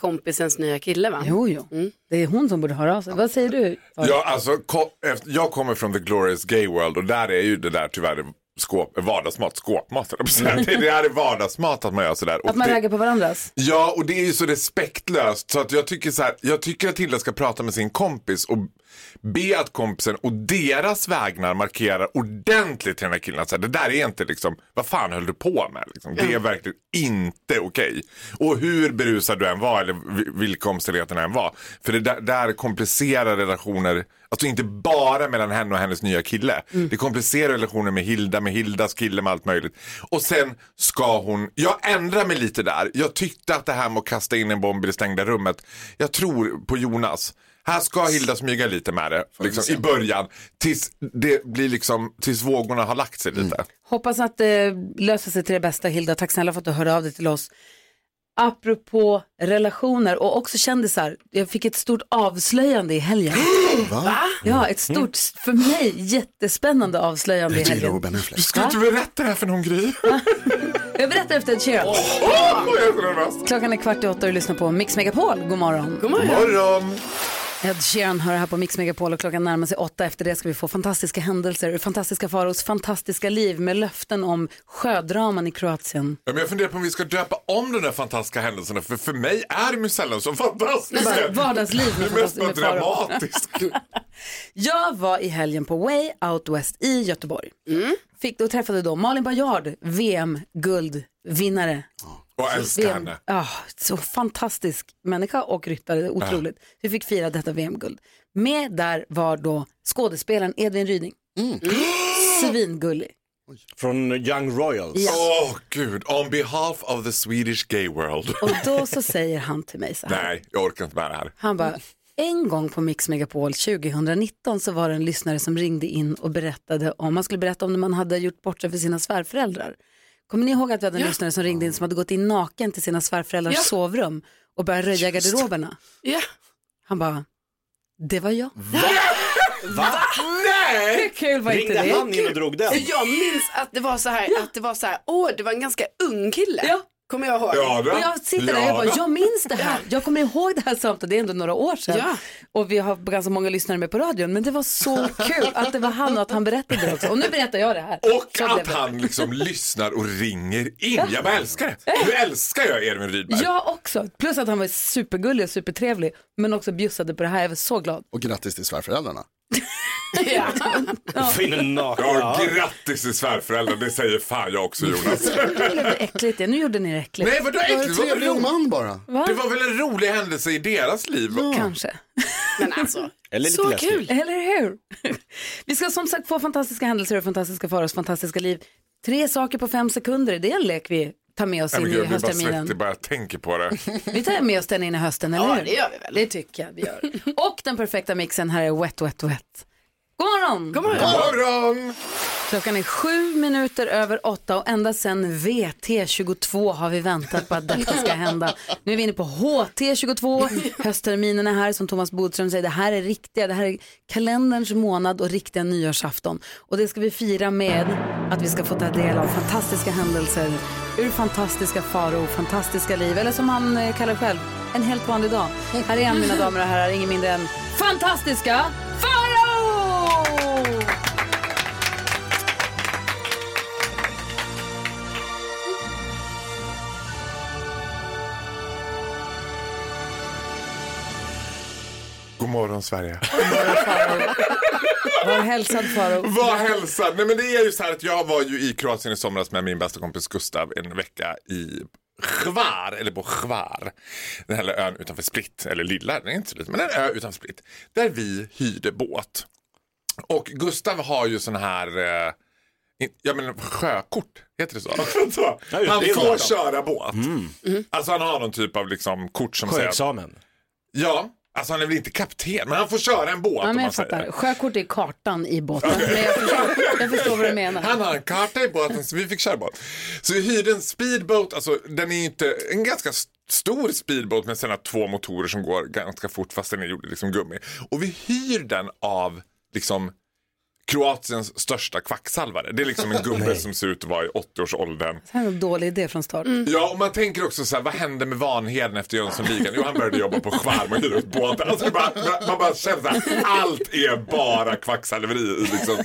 kompisens nya kille va? Jo, jo. Mm. Det är hon som borde höra av sig. Vad säger du? Ja, alltså, ko- efter- jag kommer från the glorious gay world och där är ju det där tyvärr skåp, vardagsmat, skåpmat. höll jag på att säga. Det det här är vardagsmat att man gör sådär. Och Mm. Att man det, raggar på varandras? Ja, och det är ju så respektlöst. Så att jag, tycker så här, jag tycker att Hilda ska prata med sin kompis och be att kompisen och deras vägnar markerar ordentligt till den här killen. att Så här, det där är inte liksom, vad fan höll du på med? Liksom, det är verkligen inte okej. Och hur berusad du än var eller vi- vilka omständigheterna än var. För det där, där komplicerar relationer, alltså inte bara mellan henne och hennes nya kille. Det komplicerar relationer med Hilda, med Hildas kille, med allt möjligt. Och sen ska hon, jag ändrar mig lite där. Jag tyckte att det här med att kasta in en bomb i det stängda rummet, jag tror på Jonas. Här ska Hilda smyga lite med det liksom, i början tills, det blir liksom, tills vågorna har lagt sig lite. Hoppas att det löser sig till det bästa Hilda. Tack snälla för att du hörde av dig till oss. Apropå relationer och också kändisar. Jag fick ett stort avslöjande i helgen. Va? Ja, ett stort, för mig jättespännande avslöjande i helgen. Du ska inte berätta det här för någon Gry. Jag berättar efter ett Ed Åh, Ah, jag är så nervös. Klockan är kvart i åtta och du lyssnar på Mix Megapol. God morgon. God morgon. morgon. Ed Sheeran hör här på Mix Megapol och klockan närmar sig åtta. Efter det ska vi få fantastiska händelser ur fantastiska faros fantastiska liv med löften om sjödraman i Kroatien. Ja, men jag funderar på om vi ska döpa om de där fantastiska händelserna för för mig är de ju sällan så Nej, fantastiska. men vardagsliv med Det är mest bara fantastiskt med Farao. dramatiskt. Jag var i helgen på Way Out West i Göteborg. Mm. Fick då träffade då Malin Baryard, VM-guldvinnare. Och älskar VM, henne. ja, så fantastisk människa och ryttare, otroligt. Vi fick fira detta VM-guld. Med där var då skådespelaren Edvin Ryding. Mm. Svingullig. Från Young Royals. Ja. Åh gud, on behalf of the Swedish gay world. Och då så säger han till mig så här. Nej, jag orkar inte med det här. Han bara, en gång på Mix Megapol 2019 så var det en lyssnare som ringde in och berättade om, man skulle berätta om när man hade gjort bort sig för sina svärföräldrar. Kommer ni ihåg att vi hade en lyssnare som ringde in som hade gått in naken till sina svärföräldrars Ja. sovrum och börjat röja Just det. garderoberna? Ja. Han bara, det var jag. Va? Nej! Hur kul var Ringde inte det? han in och drog den? För jag minns att det var så här, att det var så här, åh, det var en ganska ung kille. Ja. Kommer jag ihåg. och jag sitter där och jag bara, jag minns det här. Jag kommer ihåg det här samtalet, det är ändå några år sedan. Ja. Och vi har ganska många lyssnare med på radion, men det var så kul att det var han och att han berättade det också. Och nu berättar jag det här. Och att han liksom lyssnar och ringer in. Jag bara älskar det. Nu älskar jag Edvin Rydberg. Jag också. Plus att han var supergullig och supertrevlig. Men också bjussade på det här. Jag var så glad. Och grattis till svärföräldrarna. Finner naken. Ja, grattis till svärföräldrar, det säger fan jag också Jonas. Nu blev det äckligt det. Nu gjorde ni det äckligt. Nej vadå äckligt? Det var väl en- man bara. Va? Det var väl en rolig händelse i deras liv? Kanske. Men alltså. Eller lite Så läskigt. kul. Eller hur? Vi ska som sagt få fantastiska händelser och fantastiska för oss, fantastiska liv. Tre saker på fem sekunder, det är en lek vi tar med oss Nej, in men gud, Alltså, i jag blir bara svettig höstterminen. bara jag tänker på det. Vi tar med oss den in i hösten, eller Ja, hur? det gör vi väl. Det tycker jag vi gör. Och den perfekta mixen här är Wet Wet Wet. God morgon! God morgon. God morgon! Klockan är sju minuter över åtta och ända sedan VT22 har vi väntat på att detta ska hända. Nu är vi inne på HT22, höstterminen är här som Thomas Bodström säger, det här är riktiga, det här är kalenderns månad och riktiga nyårsafton. Och det ska vi fira med att vi ska få ta del av fantastiska händelser ur fantastiska faror, fantastiska liv, eller som han eh, kallar själv, en helt vanlig dag. Här är en mina damer och herrar, ingen mindre än fantastiska faror! God morgon Sverige. Var hälsad Farao. Var hälsad. Nej men det är ju så här att jag var ju i Kroatien i somras med min bästa kompis Gustav en vecka i Chvar, eller på Chvar, den här lilla ön utanför Split, eller lilla, den är inte så liten, men en ö utanför Split, där vi hyrde båt. Och Gustav har ju sån här, eh, in- ja men sjökort, heter det så? så just han det, det Mm. får var det. köra båt. Alltså han har någon typ av liksom kort som Sjöexamen. säger att, Ja, alltså han är väl inte kapten, men han får köra en båt Ja, om men man jag säger. fattar. Sjökort är kartan i båten. Men jag förstår, jag förstår vad du menar. Han har en karta i båten så vi fick köra båt. Så vi hyrde en speedboat, alltså den är ju inte en ganska st- stor speedboat men sen har två motorer som går ganska fort fast den är gjord i liksom gummi. Och vi hyr den av liksom Kroatiens största kvacksalvare. Det är liksom en gubbe Nej. som ser ut att vara i 80-årsåldern. Det här är en dålig idé från start. Ja, och man tänker också så här, vad hände med Vanheden efter Jönssonligan? Jo, han började jobba på Schwarm och hyra ut båtar. Alltså, man, man, man bara känner så här, allt är bara kvacksalveri. i Liksom.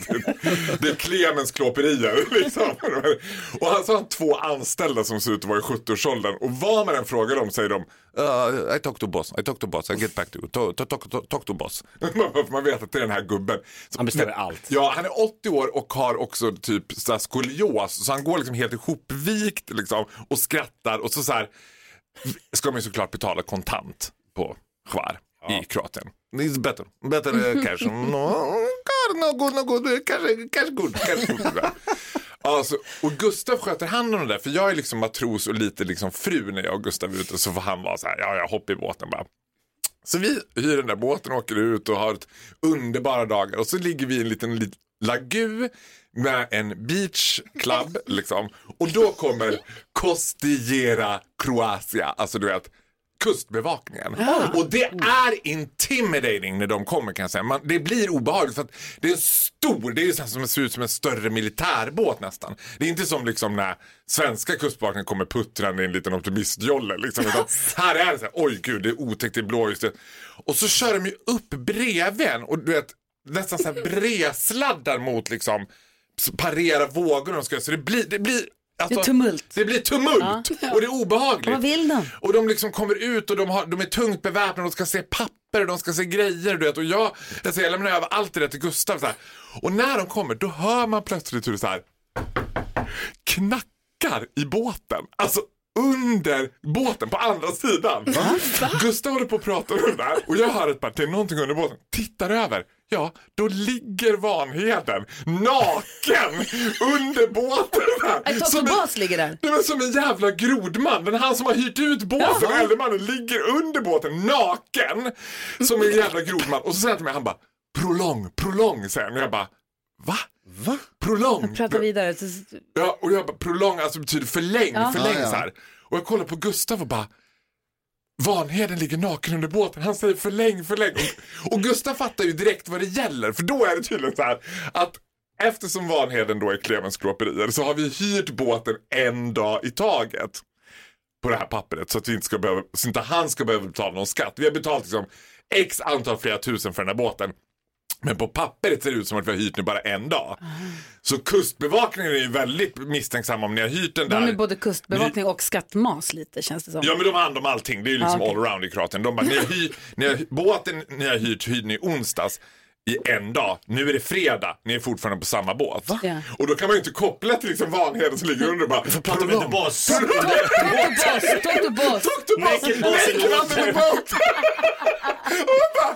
Det är Clemens klåperier. Liksom. Och han så har han två anställda som ser ut att vara i 70-årsåldern. Och vad man än frågar dem säger de, "Uh, I talk to boss, I talk to boss, I get back to you, talk, talk, talk, talk to boss. man vet att det är den här gubben. Han bestämmer allt. Ja, han är 80 år och har också typ så här skolios. Så han går liksom helt ihopvikt liksom, och skrattar. Och så, så här, ska man ju såklart betala kontant på Chvar i Kroatien. It's better, better eh, cash. No, God, no good, no good, cash, cash good, cash good. Alltså, och Gustav sköter hand om det där, för jag är liksom matros och lite liksom fru när jag och Gustav är ute. Så får han vara så här, ja, jag hoppar i båten bara. Så vi hyr den där båten och åker ut och har ett underbara dagar. Och så ligger vi i en liten lit- lagu med en beach club. Liksom. Och då kommer Costiera Croatia, alltså du vet kustbevakningen. Och det är intimidating när de kommer kan jag säga. Man, det blir obehagligt för att det är en stor, det är ju så här som det ser ut som en större militärbåt nästan. Det är inte som liksom när svenska kustbevakningen kommer puttrande i en liten optimistjolle. Liksom, utan här är det så här, oj gud det är otäckt, det är blåljus. det- Och så kör de ju upp bredvid en och du vet nästan så här bredsladdar mot liksom parera vågorna de ska göra. Så det blir, det blir alltså, Det är tumult. Det blir tumult Ja. och det är obehagligt. Vad vill de? Och de liksom kommer ut och de, har, de är tungt beväpnade och de ska se papper och de ska se grejer. Du vet. Och jag, alltså jag lämnar över allt det där till Gustav. Så här. Och när de kommer då hör man plötsligt hur det så här knackar i båten. Alltså under båten på andra sidan. Gustav håller på att prata om det där och jag hör ett par, det är någonting under båten. Tittar över. Ja, då ligger Vanheden naken under båten. Ett Som en- Totobas ligger där. Nej, men som en jävla grodman. Den han som har hyrt ut båten, Ja. den äldre mannen, ligger under båten naken. Som en jävla grodman. Och så säger han till mig, han bara prolong, prolong säger han. Och jag bara, va? Va? Prolong. Prata vidare. Ja, och jag bara, prolong alltså betyder förläng, Ja. förläng Ja, ja. så här. Och jag kollar på Gustav och bara, Vanheden ligger naken under båten. Han säger förläng, förläng. Och, och Gustav fattar ju direkt vad det gäller. För då är det tydligen så här att eftersom Vanheden då är Clemens klåperier så har vi hyrt båten en dag i taget på det här pappret så att, vi inte ska behöva, så inte han ska behöva betala någon skatt. Vi har betalat liksom x antal flera tusen för den här båten. Men på pappret ser det ut som att vi har hyrt nu bara en Ah. dag. Så kustbevakningen är ju väldigt misstänksam om ni har hyrt den De där. är både kustbevakning och skattmas lite känns det som. Ja men de har hand om allting. Det är ju liksom Ja, okej. allround i Kroatien. De bara, ni har hy- ni har, hy- båten ni har hyrt hyrde ni i onsdags i en dag. Nu är det fredag. Ni är fortfarande på samma båt. Ja. Och då kan man ju inte koppla till liksom Vanheden som ligger under och bara. Vi får prata med the boss. Totobas, Totobas. Naked boss in the boat. Och man bara,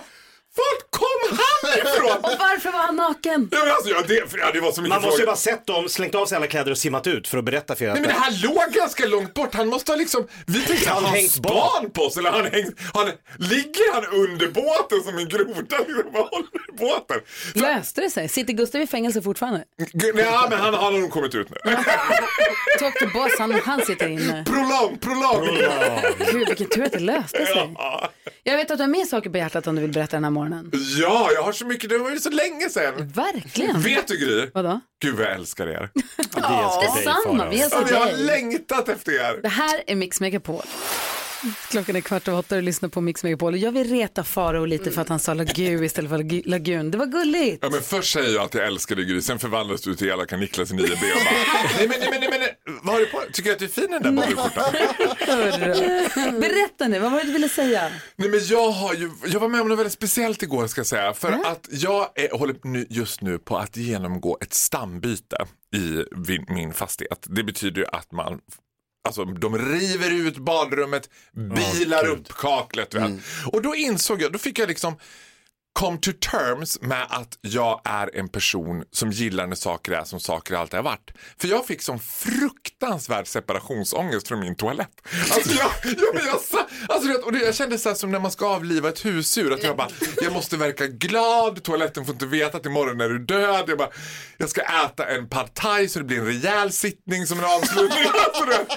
vart kom han ifrån? Och varför var han naken? Ja, men alltså, ja, det, för, ja, det var så mycket Man måste ju frågor. bara sett dem, slängt av sig alla kläder och simmat ut för att berätta för er att Nej men det här låg ganska långt bort. Han måste ha liksom, vi tänkte Han han har hängt span på oss eller han hängt, han, ligger han under båten som en groda liksom? Vad håller i båten? Löste det sig? Sitter Gustav i fängelse fortfarande? G- Nej men han, han har nog kommit ut nu. Totobas, han, han sitter inne. Prolong, prolong! Gud, vilken tur att det löste sig. Jag vet att du har mer saker på hjärtat om du vill berätta den här morgonen. Ja, jag har så mycket, det var ju så länge sedan. Verkligen. Vet du Gry? Vadå? Gud vad jag älskar er. älskar dig, detsamma. Farao. Vi älskar Ja, men Jag har dig. längtat efter er. Det här är Mix Megapol. Klockan är kvart över åtta och du lyssnar på Mix Megapol. Och Jag vill reta Faro lite för att han sa lagu istället för lagu- lagun. Det var gulligt. Ja, men först säger jag att jag älskar dig Gry, sen förvandlas du till elaka Niklas i 9B och bara, nej men nej men nej men, nej. vad har du på Tycker jag att du är fin i den där bollskjortan? Hörru. Berätta nu, vad var det du ville säga? Nej, men jag, har ju, jag var med om något väldigt speciellt igår ska jag säga. För att jag är, håller nu, just nu på att genomgå ett stambyte i vin- min fastighet. Det betyder ju att man Alltså de river ut badrummet, bilar upp kaklet. vet. Och då insåg jag, då fick jag liksom come to terms med att jag är en person som gillar när saker är som saker alltid har varit. För jag fick som fruktansvärd separationsångest från min toalett. Alltså jag, jag, jag, sa- alltså du vet, och det, jag kände så här som när man ska avliva ett husdjur. Att jag bara, jag måste verka glad, toaletten får inte veta att imorgon är du död. Jag, bara, jag ska äta en pad thai så det blir en rejäl sittning som en avslutning. Alltså, du vet.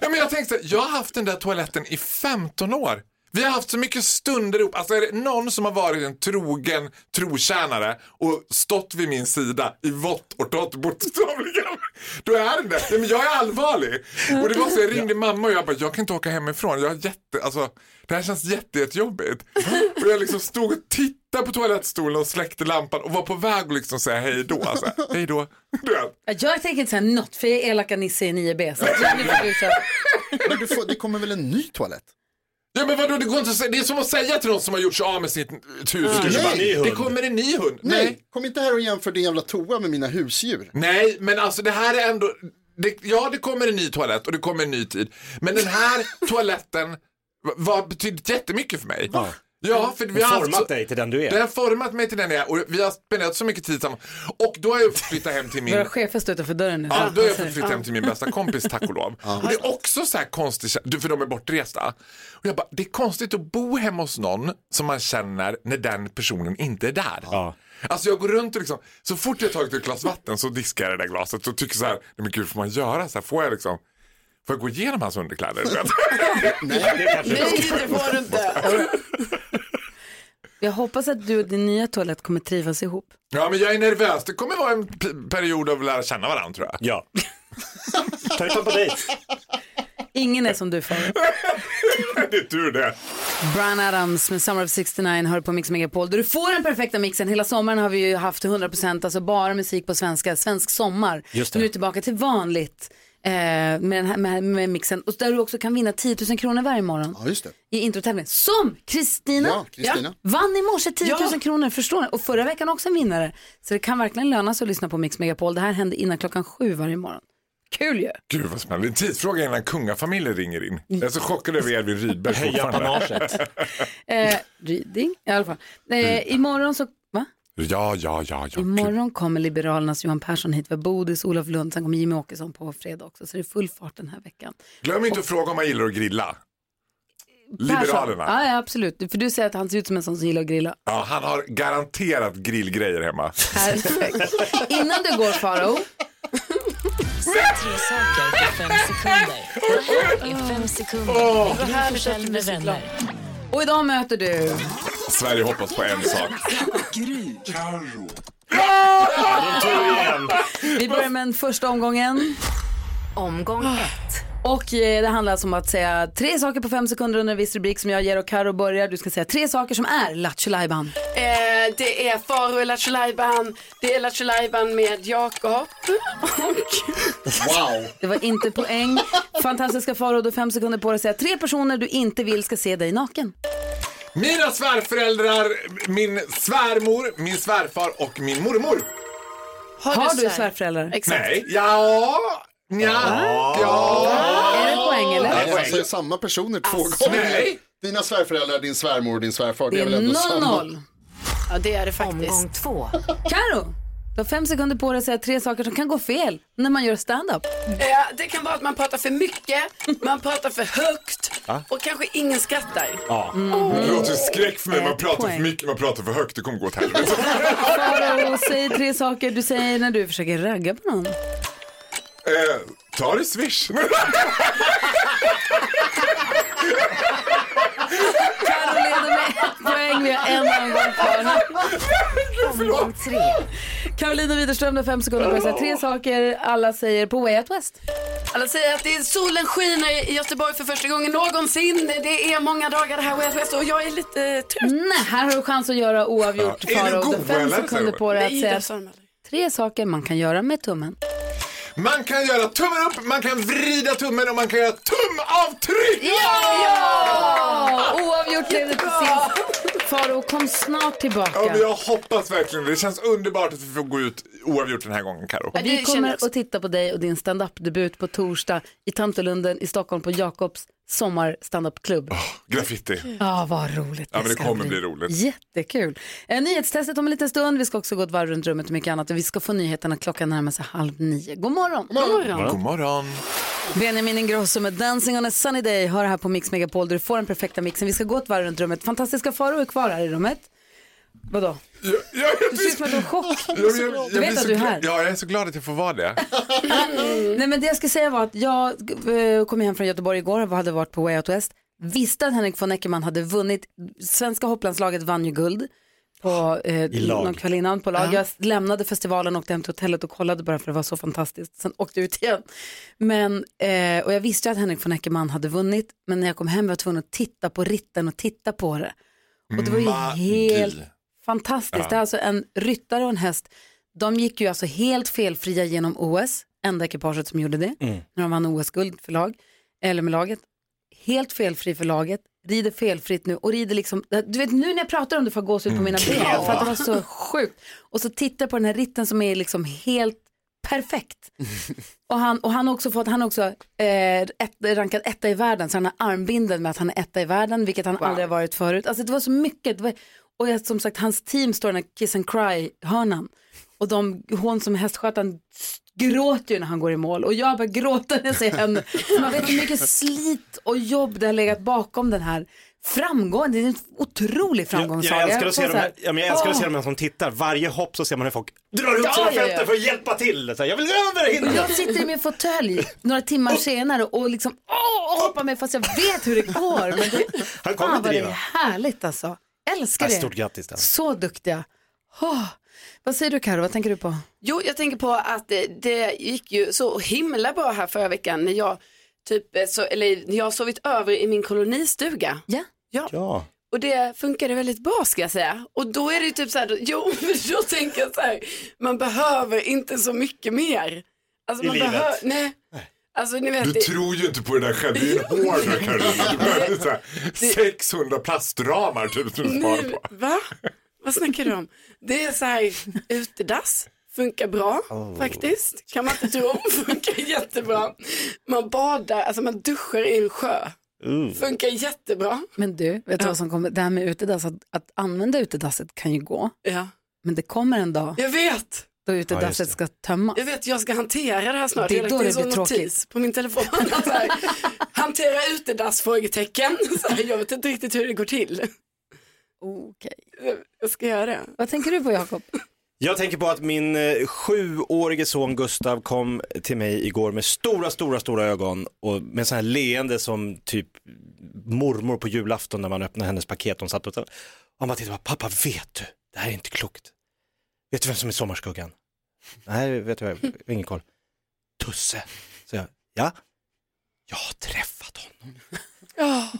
ja, men jag tänkte så här, jag har haft den där toaletten i 15 år. Vi har haft så mycket stunder ihop. Alltså är det någon som har varit en trogen trotjänare och stått vid min sida i vått och torrt bokstavligen. Då är det det. Nej, men jag är allvarlig. Och det var så jag ringde mamma och jag bara, jag kan inte åka hemifrån. Jag är jätte, alltså, det här känns jätte, jättejobbigt. Och jag liksom stod och tittade på toalettstolen och släckte lampan och var på väg att liksom säga hej då. Alltså, hej då. Du vet. Ja, Jag tänker inte säga något för jag är elaka Nisse i 9B. Så att jag blir förbjuden. Men du får, det kommer väl en ny toalett? Ja men vadå, det, går inte att säga, det är som att säga till någon som har gjort sig av med sitt hus. Nej, det kommer en ny hund. Nej, kom inte här och jämför din jävla toa med mina husdjur. Nej, men alltså det här är ändå... Det, ja, det kommer en ny toalett och det kommer en ny tid. Men den här toaletten va- var betydde jättemycket för mig. Ja. för vi Den har haft format dig till den du är. Den har format mig till den jag är och vi har spenderat så mycket tid tillsammans. Och då har jag flyttat hem till min... Våra chefer står utanför dörren nu. Ja, då har jag fått Ja. flytta hem till min bästa kompis tack och lov. Och det är också så här konstigt, du, för de är bortresta. Och jag bara, det är konstigt att bo hemma hos någon som man känner när den personen inte är där. Alltså jag går runt och liksom, så fort jag tagit ett glas vatten så diskar jag det där glaset och tycker så här, nej men gud får man göra så här, får jag liksom, får jag gå igenom hans underkläder? Du vet? Nej, det får du inte. Jag hoppas att du och din nya toalett kommer trivas ihop. ja men jag är nervös, det kommer vara en p- period av att lära känna varandra tror jag. Ja. Ta ut dem på dig. Ingen är som du förut. det är tur det. Brian Adams med Summer of 69 hör på Mix Megapol där du får den perfekta mixen. Hela sommaren har vi ju haft 100% alltså bara musik på svenska, svensk sommar. Just det. Nu är det tillbaka till vanligt eh, med, den här, med, med mixen och där du också kan vinna 10 000 kronor varje morgon. Ja, just det. I introtävlingen som Kristina Ja, Kristina. vann i morse 10 000 Ja. kronor, förstår ni? Och förra veckan också en vinnare. Så det kan verkligen löna sig att lyssna på Mix Megapol. Det här händer innan klockan sju varje morgon. Kul ju! Gud vad spännande, det är en tidsfråga innan kungafamiljen ringer in. Jag är så chockad över Edvin Rydberg Höja Mm. panaget. Eh, Ryding, i alla fall. Mm. Eh, imorgon så, va? Ja, ja, ja, ja. Imorgon kommer Liberalernas Johan Persson hit, vi har Bodis, Olof Lund, sen kommer Jimmy Åkesson på fredag också. Så det är full fart den här veckan. Glöm inte att fråga om man gillar att grilla. Persson. Liberalerna. Ja, ja, absolut. För du säger att han ser ut som en sån som gillar att grilla. Ja, han har garanterat grillgrejer hemma. Perfekt. Innan du går Faro Säg tre saker på fem sekunder. Det här är fem sekunder. Åh. Gry Forssell med vänner. och idag möter du... Sverige hoppas på en sak. Gry. Vi börjar med den första omgången. Omgång ett. Och eh, det handlar alltså om att säga tre saker på fem sekunder under en viss rubrik som jag ger och Karo börjar. Du ska säga tre saker som är Lattjo Lajban. Eh, det är Faro i Lattjo Lajban, det är Lattjo Lajban med Jakob. Wow. Det var inte poäng. Fantastiska Faro, du har fem sekunder på dig att säga tre personer du inte vill ska se dig naken. Mina svärföräldrar, min svärmor, min svärfar och min mormor. Har, du, svärföräldrar? Nej, ja, nja, ja. Är det poäng eller? Nej, alltså, det är samma personer två gånger. Alltså, Nej. Dina svärföräldrar, din svärmor och din svärfar. Det väl ändå är samma. 0-0. Ja, det är det faktiskt. Omgång två. Karo, du har fem sekunder på dig att säga tre saker som kan gå fel när man gör stand-up. Eh, det kan vara att man pratar för mycket, man pratar för högt och kanske ingen skrattar. Ja. Mm. Det låter skräck för mig. Man pratar för mycket, man pratar för högt. Det kommer gå åt helvete. Faro, säg tre saker du säger när du försöker ragga på någon. Eh, ta det swish. Karo leder med ett poäng, vi har en omgång kvar. Omgång tre. Karolina Widerström, du har fem sekunder på dig att säga tre saker alla säger på Way Out West. Alla säger att det är solen skiner i Göteborg för första gången någonsin. Det är många dagar det här Way Out West och jag är lite eh, trött. Nej, här har du chans att göra oavgjort Ja, är det Faro. Du har god, fem eller? sekunder på dig Nej, att det säga sa de aldrig. tre saker man kan göra med tummen. Man kan göra tummen upp, man kan vrida tummen och man kan göra tumavtryck. Ja! Oavgjort blev det till sist. kvar och kom snart tillbaka. Ja, men jag hoppas verkligen det. Det känns underbart att vi får gå ut oavgjort den här gången, Karo. Och vi kommer att titta på dig och din stand-up-debut på torsdag i Tantolunden i Stockholm på Jakobs sommar up klubb Graffiti. Ja, vad roligt Ah. Ja, men det ska kommer bli roligt. Jättekul. Eh, nyhetstestet om en liten stund. Vi ska också gå ett varv runt rummet och mycket annat. Och vi ska få nyheterna klockan närmar sig halv nio. God morgon. God morgon. Benjamin Ingrosso med Dancing on a sunny day. Hör här på Mix Megapol där du får den perfekta mixen. Vi ska gå ett varv runt rummet. Fantastiska faror är kvar här i rummet. Vadå? du ser ut som att du har chock. jag du blir vet så att du är glad- här. Ja, jag är så glad att jag får vara det. Nej men det jag ska säga var att jag eh, kom hem från Göteborg igår och hade varit på Way Out West. Visste att Henrik von Eckermann hade vunnit. Svenska hopplandslaget vann ju guld på eh, I lag. någon kväll innan på lag. Ja. Jag lämnade festivalen och åkte hem till hotellet och kollade bara för det var så fantastiskt. Sen åkte jag ut igen. Men, eh, och jag visste ju att Henrik von Eckermann hade vunnit. Men när jag kom hem var jag tvungen att titta på ritten och titta på det. Och det var ju Mm. Magi. helt fantastiskt. Ja. Det är alltså en ryttare och en häst. De gick ju alltså helt felfria genom OS. Enda ekipaget som gjorde det. Mm. När de vann OS-guld för lag. Eller med laget. Helt felfri för laget. Rider felfritt nu och rider liksom, du vet nu när jag pratar om det får jag gåshud på mina ben Ja. för att det var så sjukt. Och så tittar jag på den här ritten som är liksom helt perfekt. Och han, och han har också fått, han har också eh, ett, rankat etta i världen, så han har armbinden med att han är etta i världen, vilket han aldrig har varit förut. Alltså det var så mycket, det var, och jag, som sagt hans team står i den här kiss and cry-hörnan. Och de, hon som är hästskötaren gråter ju när han går i mål och jag börjar gråta när jag ser henne. Så man vet hur mycket slit och jobb det har legat bakom den här framgången. Det är en otrolig framgångssaga. Jag älskar att se får de så här, ja, men jag älskar att se åh. de här som tittar. Varje hopp så ser man hur folk drar ihop Ja, sina ja, ja. fötter för att hjälpa till. Så här, jag vill över Och hindret. Jag sitter i min fåtölj några timmar senare och liksom åh, och hoppar med fast jag vet hur det går. Men det, Han kommer inte fan Ah, vad det driva. är härligt alltså. Älskar Ja, det. Stort grattis. Där. Så duktiga. Åh. Vad säger du Karo? vad tänker du på? Jo, jag tänker på att eh, det gick ju så himla bra här förra veckan när jag, typ, eh, så, eller, när jag har sovit över i min kolonistuga. Ja. Ja. Och det funkade väldigt bra ska jag säga. Och då är det ju typ så här, jo men då tänker jag så här, man behöver inte så mycket mer. Alltså, I man livet. behöver- nej. Alltså, ni vet, Du det- tror ju inte på det där själv. Det är ju en hård där, Karolina. Du behöver så här 600 plastramar typ som du sparar Nu- på. Va? Vad snackar du om? Det är så här, utedass funkar bra Oh. faktiskt. Kan man inte tro, funkar jättebra. Man badar, alltså man duschar i en sjö. Funkar jättebra. Men du, vet du vad som kommer? Det här med utedass, att, att använda utedasset kan ju gå. Ja. Men det kommer en dag Jag vet, då Ja, utedasset just det. ska tömmas. jag vet, jag ska hantera det här snart. Det är Jag har då lagt in det blir sån notis tråkigt. På min telefon. Att så här, hantera utedass? Frågetecken. Så här, jag vet inte riktigt hur det går till. Okej. Jag ska göra det. Vad tänker du på Jakob? Jag tänker på att min eh, sjuårige son Gustav kom till mig igår med stora, stora, stora ögon och med sån här leende som typ mormor på julafton när man öppnar hennes paket. Hon satt och han bara tittade på pappa, vet du, det här är inte klokt. Vet du vem som är sommarskuggan? Nej, vet du, jag har ingen koll. Tusse, så jag. Ja, jag har träffat honom.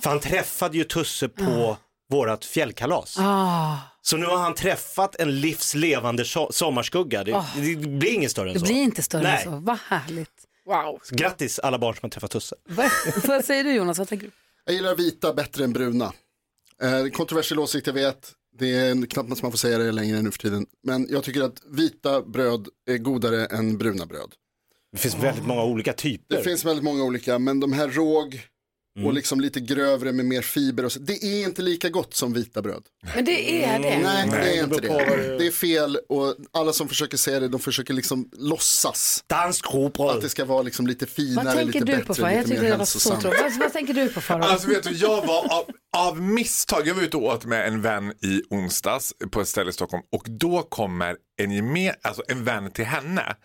För han träffade ju Tusse på vårat fjällkalas. Ah, Så nu har han träffat en livslevande so- sommarskugga. Det, Ah. det blir inget större än det så. blir inte större än Nej. så. Vad härligt. Wow. så. Grattis alla barn som har träffat Tusse. vad säger du Jonas? Vad tänker du? Jag gillar vita bättre än bruna. Eh, kontroversiell åsikt, jag vet. Det är en- knappt att man får säga det längre nu för tiden. Men jag tycker att vita bröd är godare än bruna bröd. Det finns väldigt många olika typer. Mm. Det finns väldigt många olika, men de här råg och liksom lite grövre med mer fiber och så. Det är inte lika gott som vita bröd. Men det är det. Nej, det är inte beror på vad det- det. Det är fel och alla som försöker säga det, de försöker liksom låtsas. Dansk Att det ska vara liksom lite finare, Vad tänker lite du bättre, på Farao? Jag lite tycker mer det var så hälsosamt. tråkigt. Vad, vad tänker du på Farao? Alltså vet du, jag var av, av misstag, jag var ute och åt med en vän i onsdags på ett ställe i Stockholm och då kommer en, geme, alltså en vän till henne,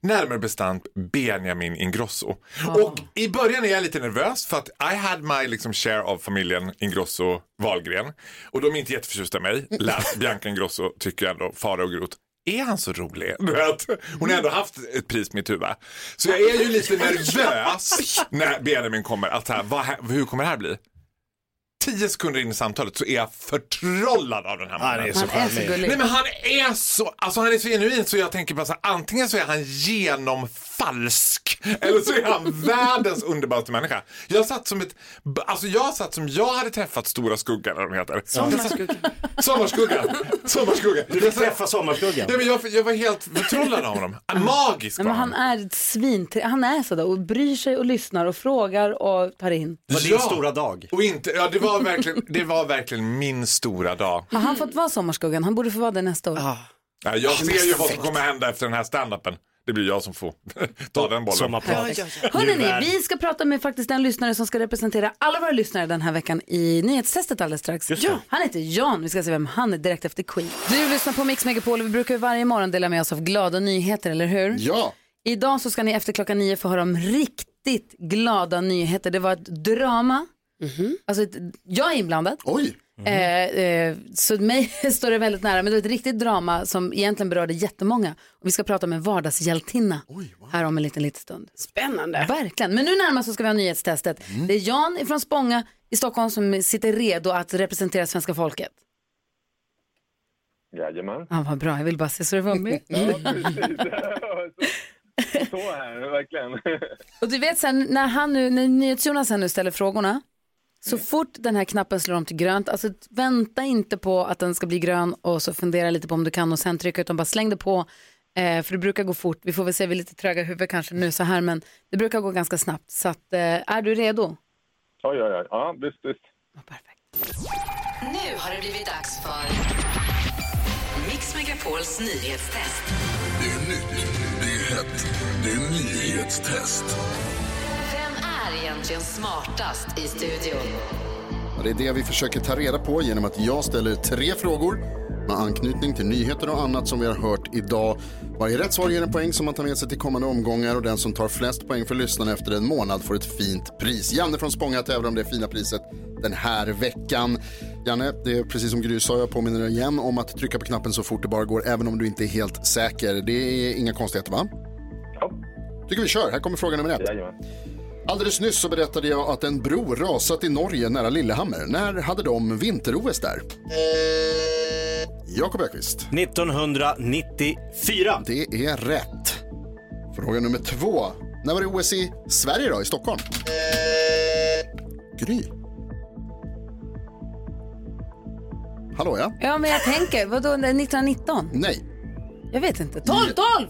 närmare bestämt Benjamin Ingrosso. Och i början är jag lite nervös för att I had my liksom, share av familjen Ingrosso Wahlgren och de är inte jätteförtjusta i mig. Läs Bianca Ingrosso tycker jag ändå, Farao och Groth. Är han så rolig? Du vet, hon har ändå haft ett pris mitt huvud. Så jag är ju lite nervös när Benjamin kommer. Att så här, vad, hä- hur kommer det här bli? tio sekunder in i samtalet så är jag förtrollad av den här mannen. är så Han är charmig. så gullig. Nej men han är så, alltså han är så genuin så jag tänker bara så här, antingen så är han genomfalsk eller så är han världens underbaraste människa. Jag satt som ett, alltså jag satt som jag hade träffat Stora Skuggan eller vad de heter. Sommarskuggan. Sommarskuggan. Sommarskuggan. Du fick träffa Sommarskuggan. Ja, men jag, jag var helt förtrollad av honom. Magisk Men var han är ett svin, han är sådär och bryr sig och lyssnar och frågar och tar in. Var din stora dag? Och inte, ja, det, var verkligen, det var verkligen min stora dag. Har han fått vara Sommarskuggan? Han borde få vara det nästa år. Ja, jag ser ju vad som kommer hända efter den här standupen. Det blir jag som får ta den bollen. Sommarprat. Hörrni, vi ska prata med faktiskt den lyssnare som ska representera alla våra lyssnare den här veckan i nyhetstestet alldeles strax. Just det. Ja. Han heter Jan, vi ska se vem han är direkt efter Queen. Du lyssnar på Mix Megapol och vi brukar ju varje morgon dela med oss av glada nyheter, eller hur? Ja. Idag så ska ni efter klockan nio få höra om riktigt glada nyheter. Det var ett drama, alltså ett, jag är inblandad. Oj. Eh, eh, så mig står det väldigt nära, men det var ett riktigt drama som egentligen berörde jättemånga. Och vi ska prata med en vardagshjältinna här om en liten, liten stund. Spännande. Verkligen. Men nu närmast så ska vi ha nyhetstestet. Det är Jan ifrån Spånga i Stockholm som sitter redo att representera svenska folket. Jajamän. Ja, vad bra, jag vill bara se så det var med. Mm. Ja, precis. Så- Så här, verkligen. Och du vet sen när han nu, när NyhetsJonas här nu ställer frågorna, så fort den här knappen slår om till grönt, alltså vänta inte på att den ska bli grön och så fundera lite på om du kan och sen trycka utan bara släng det på. Eh, för det brukar gå fort, vi får väl se, vi är lite tröga i huvudet kanske nu så här men det brukar gå ganska snabbt. Så att, eh, är du redo? Oj, oj, oj. Ja, visst, visst. Nu har det blivit dags för Mix Megapols nyhetstest. Det är nytt, det är hett, det är nyhetstest. Vem är egentligen smartast i studion? Det är det vi försöker ta reda på genom att jag ställer tre frågor med anknytning till nyheter och annat som vi har hört idag. Varje rätt svar ger en poäng som man tar med sig till kommande omgångar och den som tar flest poäng för lyssnarna efter en månad får ett fint pris. Janne från Spånga tävlar om det fina priset den här veckan. Janne, det är precis som Gry sa, jag påminner dig igen om att trycka på knappen så fort det bara går, även om du inte är helt säker. Det är inga konstigheter, va? tycker vi kör. Här kommer fråga nummer ett. Alldeles nyss så berättade jag att en bro rasat i Norge nära Lillehammer. När hade de vinter-OS där? Jakob Ökvist. 1994. Det är rätt. Fråga nummer två. När var det OS i Sverige då, i Stockholm? Gry. Hallå ja? Ja men jag tänker, vadå 1919? Nej. Jag vet inte, 12, 12!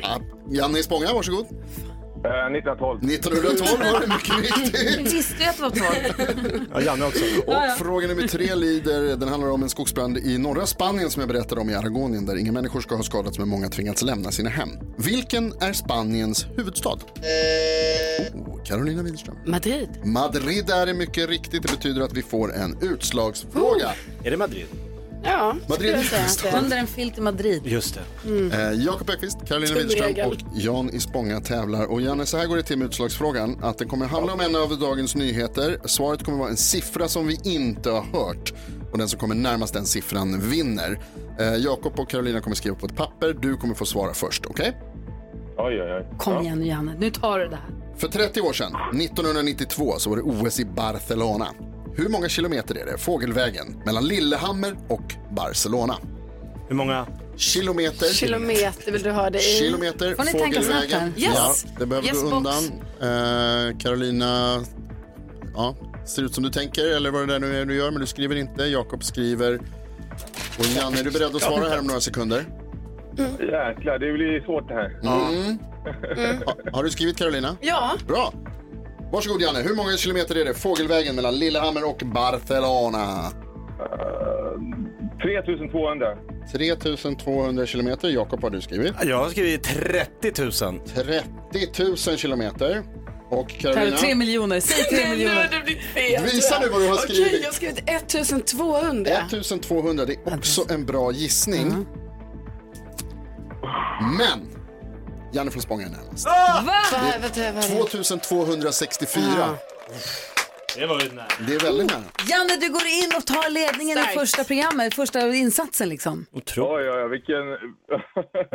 Ja, Janne i Spånga, varsågod. 1912. 1912 var det mycket riktigt. Visste jag att det var 12? Ja, Janne också. Och fråga nummer tre lyder, den handlar om en skogsbrand i norra Spanien som jag berättade om i Aragonien där inga människor ska ha skadats men många tvingats lämna sina hem. Vilken är Spaniens huvudstad? Oh, Carolina Widerström. Madrid. Madrid är det mycket riktigt. Det betyder att vi får en utslagsfråga. Är det Madrid? Ja, Madrid skulle jag säga. huvudstad. Under en filt i Madrid. Just det. Mm. Eh, Jakob Ekqvist, Carolina Tung Widerström regel. och Jan i Spånga tävlar. Och Janne, så här går det till med utslagsfrågan. Att den kommer handla om en av dagens nyheter. Svaret kommer vara en siffra som vi inte har hört. Och den som kommer närmast den siffran vinner. Eh, Jakob och Carolina kommer skriva på ett papper. Du kommer få svara först, okej? Oj, oj, oj. Kom igen nu Janne, nu tar du det här. För 30 år sedan, 1992, så var det OS i Barcelona. Hur många kilometer är det fågelvägen mellan Lillehammer och Barcelona? Hur många? Kilometer. Kilometer vill du ha det i. Kilometer, fågelvägen. Yes. Ja, det behöver yes, gå box. undan. Eh, Carolina, ja, ser ut som du tänker eller vad det där nu är du gör, men du skriver inte. Jakob skriver. Och Janne, är du beredd att svara här om några sekunder? Jäklar, det blir svårt det här. Mm. Ha, har du skrivit Carolina? Ja. Bra. Varsågod Janne, hur många kilometer är det fågelvägen mellan Lillehammer och Barcelona? 3200. 3200 kilometer. Jakob, vad har du skrivit? Jag har skrivit 30 000. 30 000 kilometer. Och Carolina? Tar tre miljoner, säg tre Nej, nu har det miljoner. blivit fel. Visa nu vad du har skrivit. Okej, jag har skrivit 1200. 1200, det är också en bra gissning. Men, Janne från Spånga är närmast. Ah! Va? Det är Vad- vad- vad- 2264. Det var ju nära. Det är väldigt nära. Janne, du går in och tar ledningen i Starkt. första programmet, första insatsen liksom. Oj, oj, oj, vilken...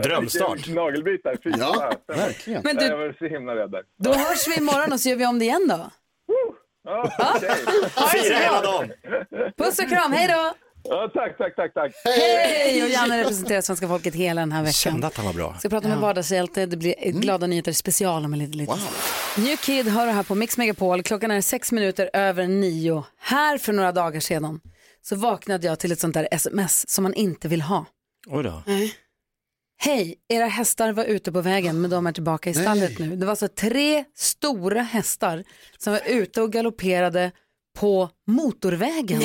Drömstart. vilken nagelbit där. Fy Ja, verkligen. Men du- Jag var så himla rädd där. Då hörs vi imorgon och så gör vi om det igen då. Fira hela dagen. Puss och kram, hej då! Ja, tack, tack, tack, tack. Hej! Och Janne representerar svenska folket hela den här veckan. Kände att han var bra. Mm. Ska prata med vardagshjälte, det blir ett glada nyheter special om en liten liten stund. New Kid hör du här på Mix Megapol. Klockan är sex minuter över nio. Här för några dagar sedan så vaknade jag till ett sånt där sms som man inte vill ha. Oj då. Hej, era hästar var ute på vägen men de är tillbaka i stallet nu. Det var alltså tre stora hästar som var ute och galopperade på motorvägen.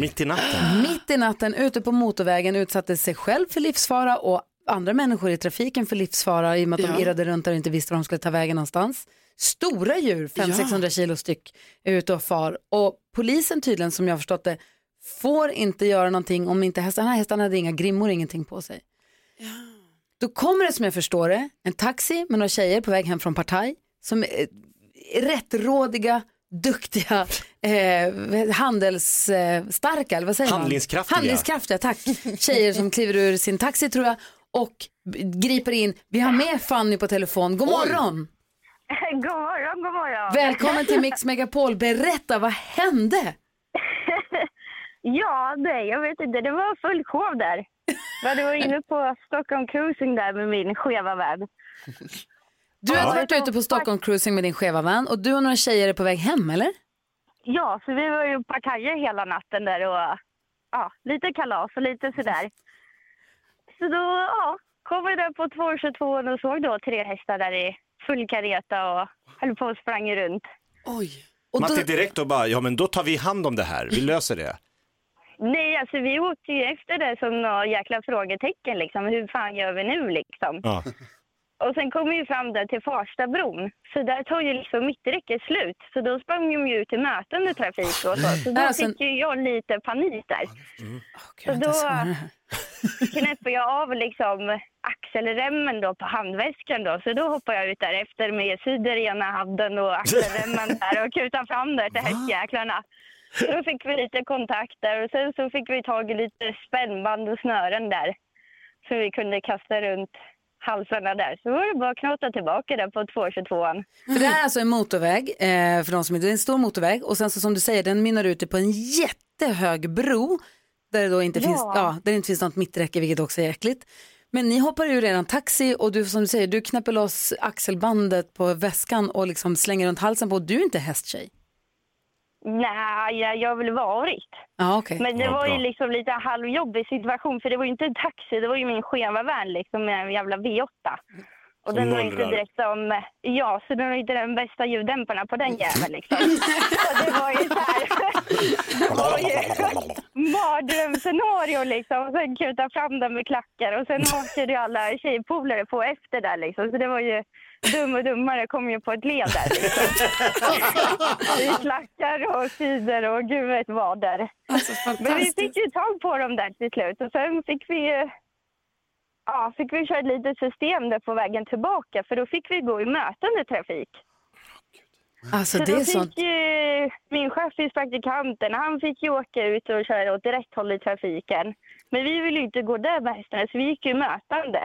Mitt i natten. Mitt i natten ute på motorvägen utsatte sig själv för livsfara och andra människor i trafiken för livsfara i och med att Ja. de irrade runt där och inte visste var de skulle ta vägen någonstans. Stora djur, Ja. 500-600 kilo styck, är ute och far. Och polisen tydligen, som jag har förstått det, får inte göra någonting om inte hästarna, hästarna hade inga grimmor, ingenting på sig. Då kommer det som jag förstår det en taxi med några tjejer på väg hem från Partaj som är eh, rättrådiga, duktiga, eh, handelsstarka, eh, starka, eller vad säger Handlingskraftiga. man? Handlingskraftiga. tack. Tjejer som kliver ur sin taxi tror jag och b- griper in. Vi har med Fanny på telefon. God morgon! God morgon, god morgon. Välkommen till Mix Megapol. Berätta, vad hände? Ja, nej, jag vet inte. Det var full show där. Jag hade varit inne på Stockholm Cruising där med min skeva vän. Du Ja. har varit ute på Stockholm Cruising med din skeva vän och du och några tjejer är på väg hem eller? Ja, så vi var ju på Parkajer hela natten där och ja, lite kalas och lite sådär. Så då ja, kom vi där på 222 och såg då tre hästar där i full kareta och höll på och sprang runt. Oj. Matti direkt och bara, ja men då tar vi hand om det här, vi löser det. Alltså, Nej, alltså vi åkte ju efter det som några jäkla frågetecken liksom. Hur fan gör vi nu liksom? Ja. Och sen kom vi ju fram där till Farstabron. Så där tog ju liksom mitträcket slut. Så då sprang de ju ut i mötande trafik och så. Så då Alltså- fick ju jag lite panik där. Gud, vänta, då- jag ska vara här. knäpper jag av liksom axelremmen då på handväskan då. Så då hoppar jag ut därefter med cider i ena handen och axelremmen där och kutar fram där till hästjäklarna. Så då fick vi lite kontakter och sen så fick vi tag i lite spännband och snören där. Så vi kunde kasta runt halsarna där. Så var det bara att knåta tillbaka där på 222an. För det här är alltså en motorväg, eh, för de som inte, det är en stor motorväg och sen så som du säger, den mynnar ut på en jättehög bro där det då inte, Ja. finns, ja, där det inte finns något mitträcke vilket också är äckligt. Men ni hoppar ur eran taxi och du som du säger, du knäpper loss axelbandet på väskan och liksom slänger runt halsen på och du är inte hästtjej. Nej, jag, jag har väl varit. Ja, okej. Men det var ju liksom lite en halvjobbig situation för det var ju inte en taxi, det var ju min skeva vän liksom med en jävla V8. Och Som den var ju inte mullrar. direkt som, ja, så den var ju inte den bästa ljuddämparna på Mm. den jäveln liksom. så det var ju så här, det var ju mardrömsscenario liksom. Och sen kuta fram den med klackar och sen åkte ju alla tjejpolare på efter där liksom. Så det var ju dum och dummare kom ju på ett led där liksom. I klackar och sidor och gud vet vad där. Men vi fick ju tag på dem där till slut och sen fick vi ju- Ja, fick vi köra ett litet system där på vägen tillbaka för då fick vi gå i mötande trafik. Alltså så det då är fick sånt. ju min chef, praktikanten, han fick ju åka ut och köra åt rätt håll i trafiken. Men vi ville ju inte gå där med hästarna så vi gick ju mötande.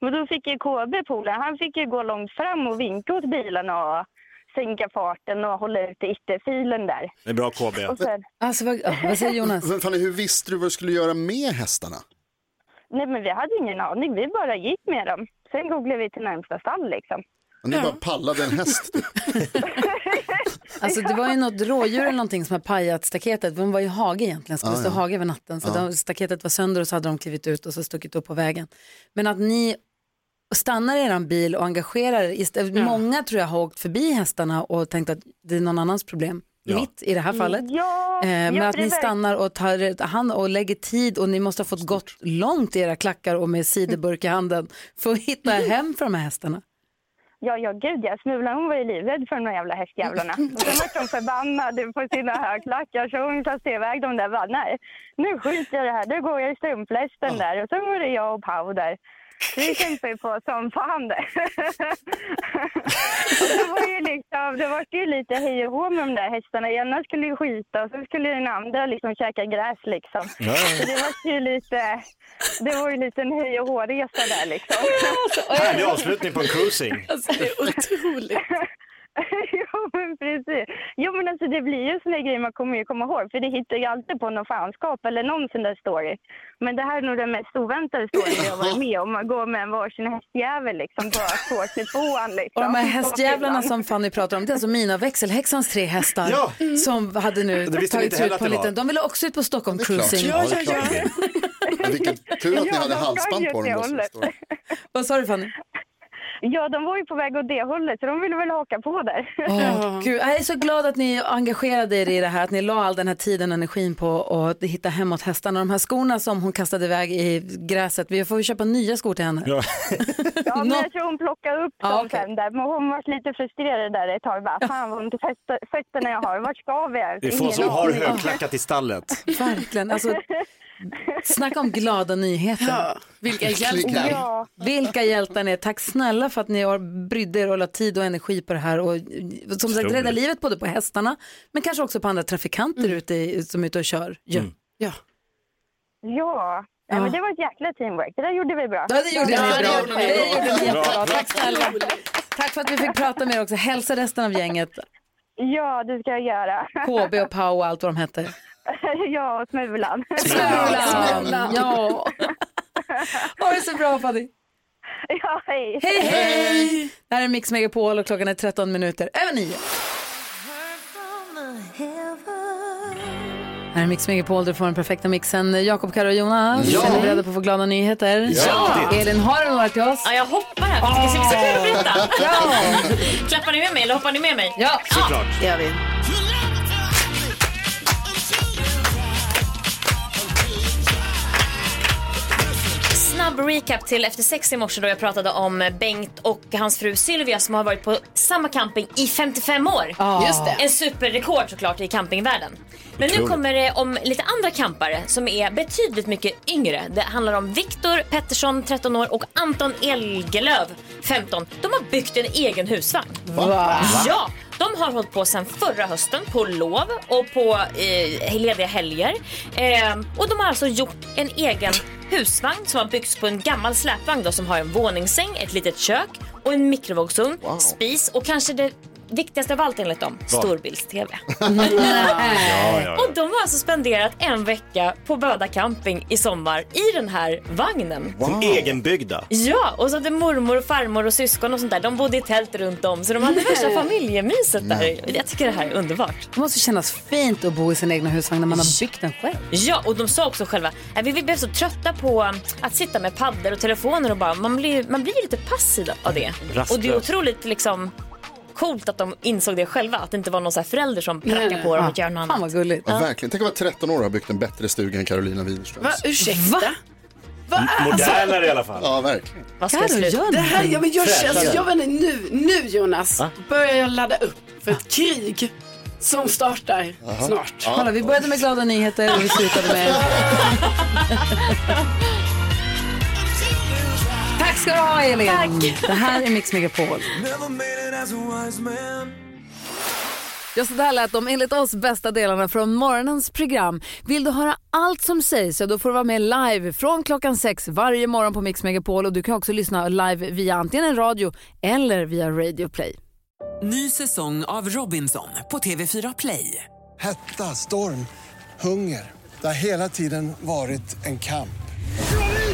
Men då fick ju KB polaren, han fick ju gå långt fram och vinka åt bilarna och sänka farten och hålla ut i ytterfilen där. Det är bra KB. Och sen, Alltså, vad, ja, vad säger Jonas? Men Fanny, hur visste du vad du skulle göra med hästarna? nej men vi hade ingen aning, vi bara gick med dem. Sen googlade vi till närmsta stall liksom. Men du bara pallade en häst. Alltså det var ju något rådjur eller någonting som har pajat staketet. De var ju i hage egentligen, skulle Ja, stå Ah, ja. hage över natten. Så Ja. de, staketet var sönder och så hade de klivit ut och så stuckit upp på vägen. Men att ni stannar i eran bil och engagerar er. Istället, Många tror jag har åkt förbi hästarna och tänkt att det är någon annans problem. Ja. Mitt i det här fallet. Ja, Eh, ja, men att för det ni verkar- stannar och tar hand och lägger tid och ni måste ha fått gått långt i era klackar och med ciderburk i handen för att hitta hem för de här hästarna. Ja, ja gud ja. Smulan hon var ju livrädd för de där jävla hästjävlarna. Och sen vart hon förbannad på sina högklackar så hon kastade iväg dem där. Bara, Nej, nu skiter jag i det här. Nu går jag i strumplästen där. Och sen var det jag och Pau där. Vi kämpade ju på som fan där. Och det var ju liksom, det var ju lite hej och hå med de där hästarna. Ena skulle ju skita och sen skulle den andra liksom käka gräs liksom. Ja, ja. Så det var ju lite, det var ju lite en hej och hå-resa där liksom. Härlig avslutning på en cruising. Alltså det är otroligt. jo, men precis. Jo, men alltså det blir ju såna här grejer man kommer ju komma ihåg. För det hittar ju alltid på någon fanskap eller någon sån där story. Men det här är nog den mest oväntade storyn jag varit med om. Man går med en varsin hästjävel liksom på 222an Och liksom. de här hästjävlarna Och- som Fanny pratar om, det är alltså mina och växelhäxans tre hästar Ja. som hade Det nu visste vi inte tagits heller ut på en att det var. liten, de ville också ut på Stockholm klart. cruising. Ja, Ja, det är ja, klart. Men vilket tur att ni Ja, hade de var halsband ju på åt dem. det då, som det hållet. står. Vad sa du Fanny? Ja, de var ju på väg åt det hållet så de ville väl haka på där. Åh, Gud, jag är så glad att ni engagerade er i det här, att ni la all den här tiden och energin på att hitta hem åt hästarna. De här skorna som hon kastade iväg i gräset, vi får ju köpa nya skor till henne. Ja, men jag tror hon plockade upp Ja, dem sen där. Men hon var lite frustrerad där ett tag. Bara, Fan vad ont i fötter- fötterna jag har. Vart ska vi? Det är få Ingen som har aning. högklackat i stallet. Verkligen, alltså snacka om glada nyheter. Ja, vilka hjältar. Ja. Vilka hjältar ni är. Tack snälla för att ni har brydde er och la tid och energi på det här och som sagt Otroligt. rädda livet både på hästarna men kanske också på andra trafikanter ute i, som är ute och kör. Ja. Mm. Ja. Ja. Ja, men det var ett jäkla teamwork. Det där gjorde vi bra. Ja, det gjorde ni bra. det gjorde vi Det gjorde ni jättebra. Tack snälla. Otroligt. Tack för att vi fick prata med er också. Hälsa resten av gänget, Ja, det ska jag göra. KB och Pau och allt vad de hette. ja, och Smulan. Smulan. Ja. Ha det så bra Fanny. Ja, hej. Hej, hej! Det här är Mix Megapol och klockan är 13 minuter över 9. Här är Mix Megapol, du får den perfekta mixen. Jakob, Karo och Jonas, Ja. är ni beredda på att få glada nyheter? Ja. Elin, har du några till oss? Ja, jag hoppar här för det ska bli så kul att veta. Ja. Klappar ni med mig eller hoppar ni med mig? Ja, såklart. Det gör vi. Snabb recap till efter sex i morse då jag pratade om Bengt och hans fru Sylvia som har varit på samma camping i 55 år. Ja. Just det. En superrekord såklart i campingvärlden. Men nu Otroligt. kommer det om lite andra campare som är betydligt mycket yngre. Det handlar om Viktor Pettersson, 13 år och Anton Elgelöv, 15. De har byggt en egen husvagn. Va? Ja, de har hållit på sedan förra hösten på lov och på eh, lediga helger. Eh, och de har alltså gjort en egen husvagn som har byggts på en gammal släpvagn då, som har en våningssäng, ett litet kök och en mikrovågsugn, spis och kanske det viktigaste av allt enligt dem, Vad? storbilds-tv. Och de har alltså spenderat en vecka på Böda camping i sommar i den här vagnen. Som egenbyggda. Ja, och så hade mormor och farmor och syskon och sånt där, de bodde i tält runt om så de hade värsta familjemyset där. Jag tycker det här är underbart. Det måste kännas fint att bo i sin egna husvagn när man har byggt den själv. Ja, och de sa också själva, "Nej, vi vi blev så trötta på um, att sitta med paddor och telefoner och bara, man blir, man blir lite passiv av det. Mm, Rastlös. Och det är otroligt liksom coolt att de insåg det själva, att det inte var någon så här förälder som prackade på dem att göra något annat. Ah, Fan vad gulligt. Ja, verkligen. Tänk att vara 13 år och ha byggt en bättre stuga än Carolina Widerström. Va? Ursäkta? Modernare i alla fall. Ja, verkligen. Vad ska jag Karo, sluta? gör Det här, ja, men jag Fräschare. känner, jag vet inte, nu, nu Jonas börjar jag ladda upp för ett krig som startar Aha. snart. Kolla, vi började med glada nyheter och vi slutade med... Tack ska du ha, Elin. Tack. Det här är Mix Megapol. Ja, så där lät de enligt oss bästa delarna från morgonens program. Vill du höra allt som sägs så då får du vara med live från klockan sex varje morgon på Mix Megapol och du kan också lyssna live via antingen en radio eller via Radio Play. Ny säsong av Robinson på TV4 Play. Hetta, storm, hunger. Det har hela tiden varit en kamp.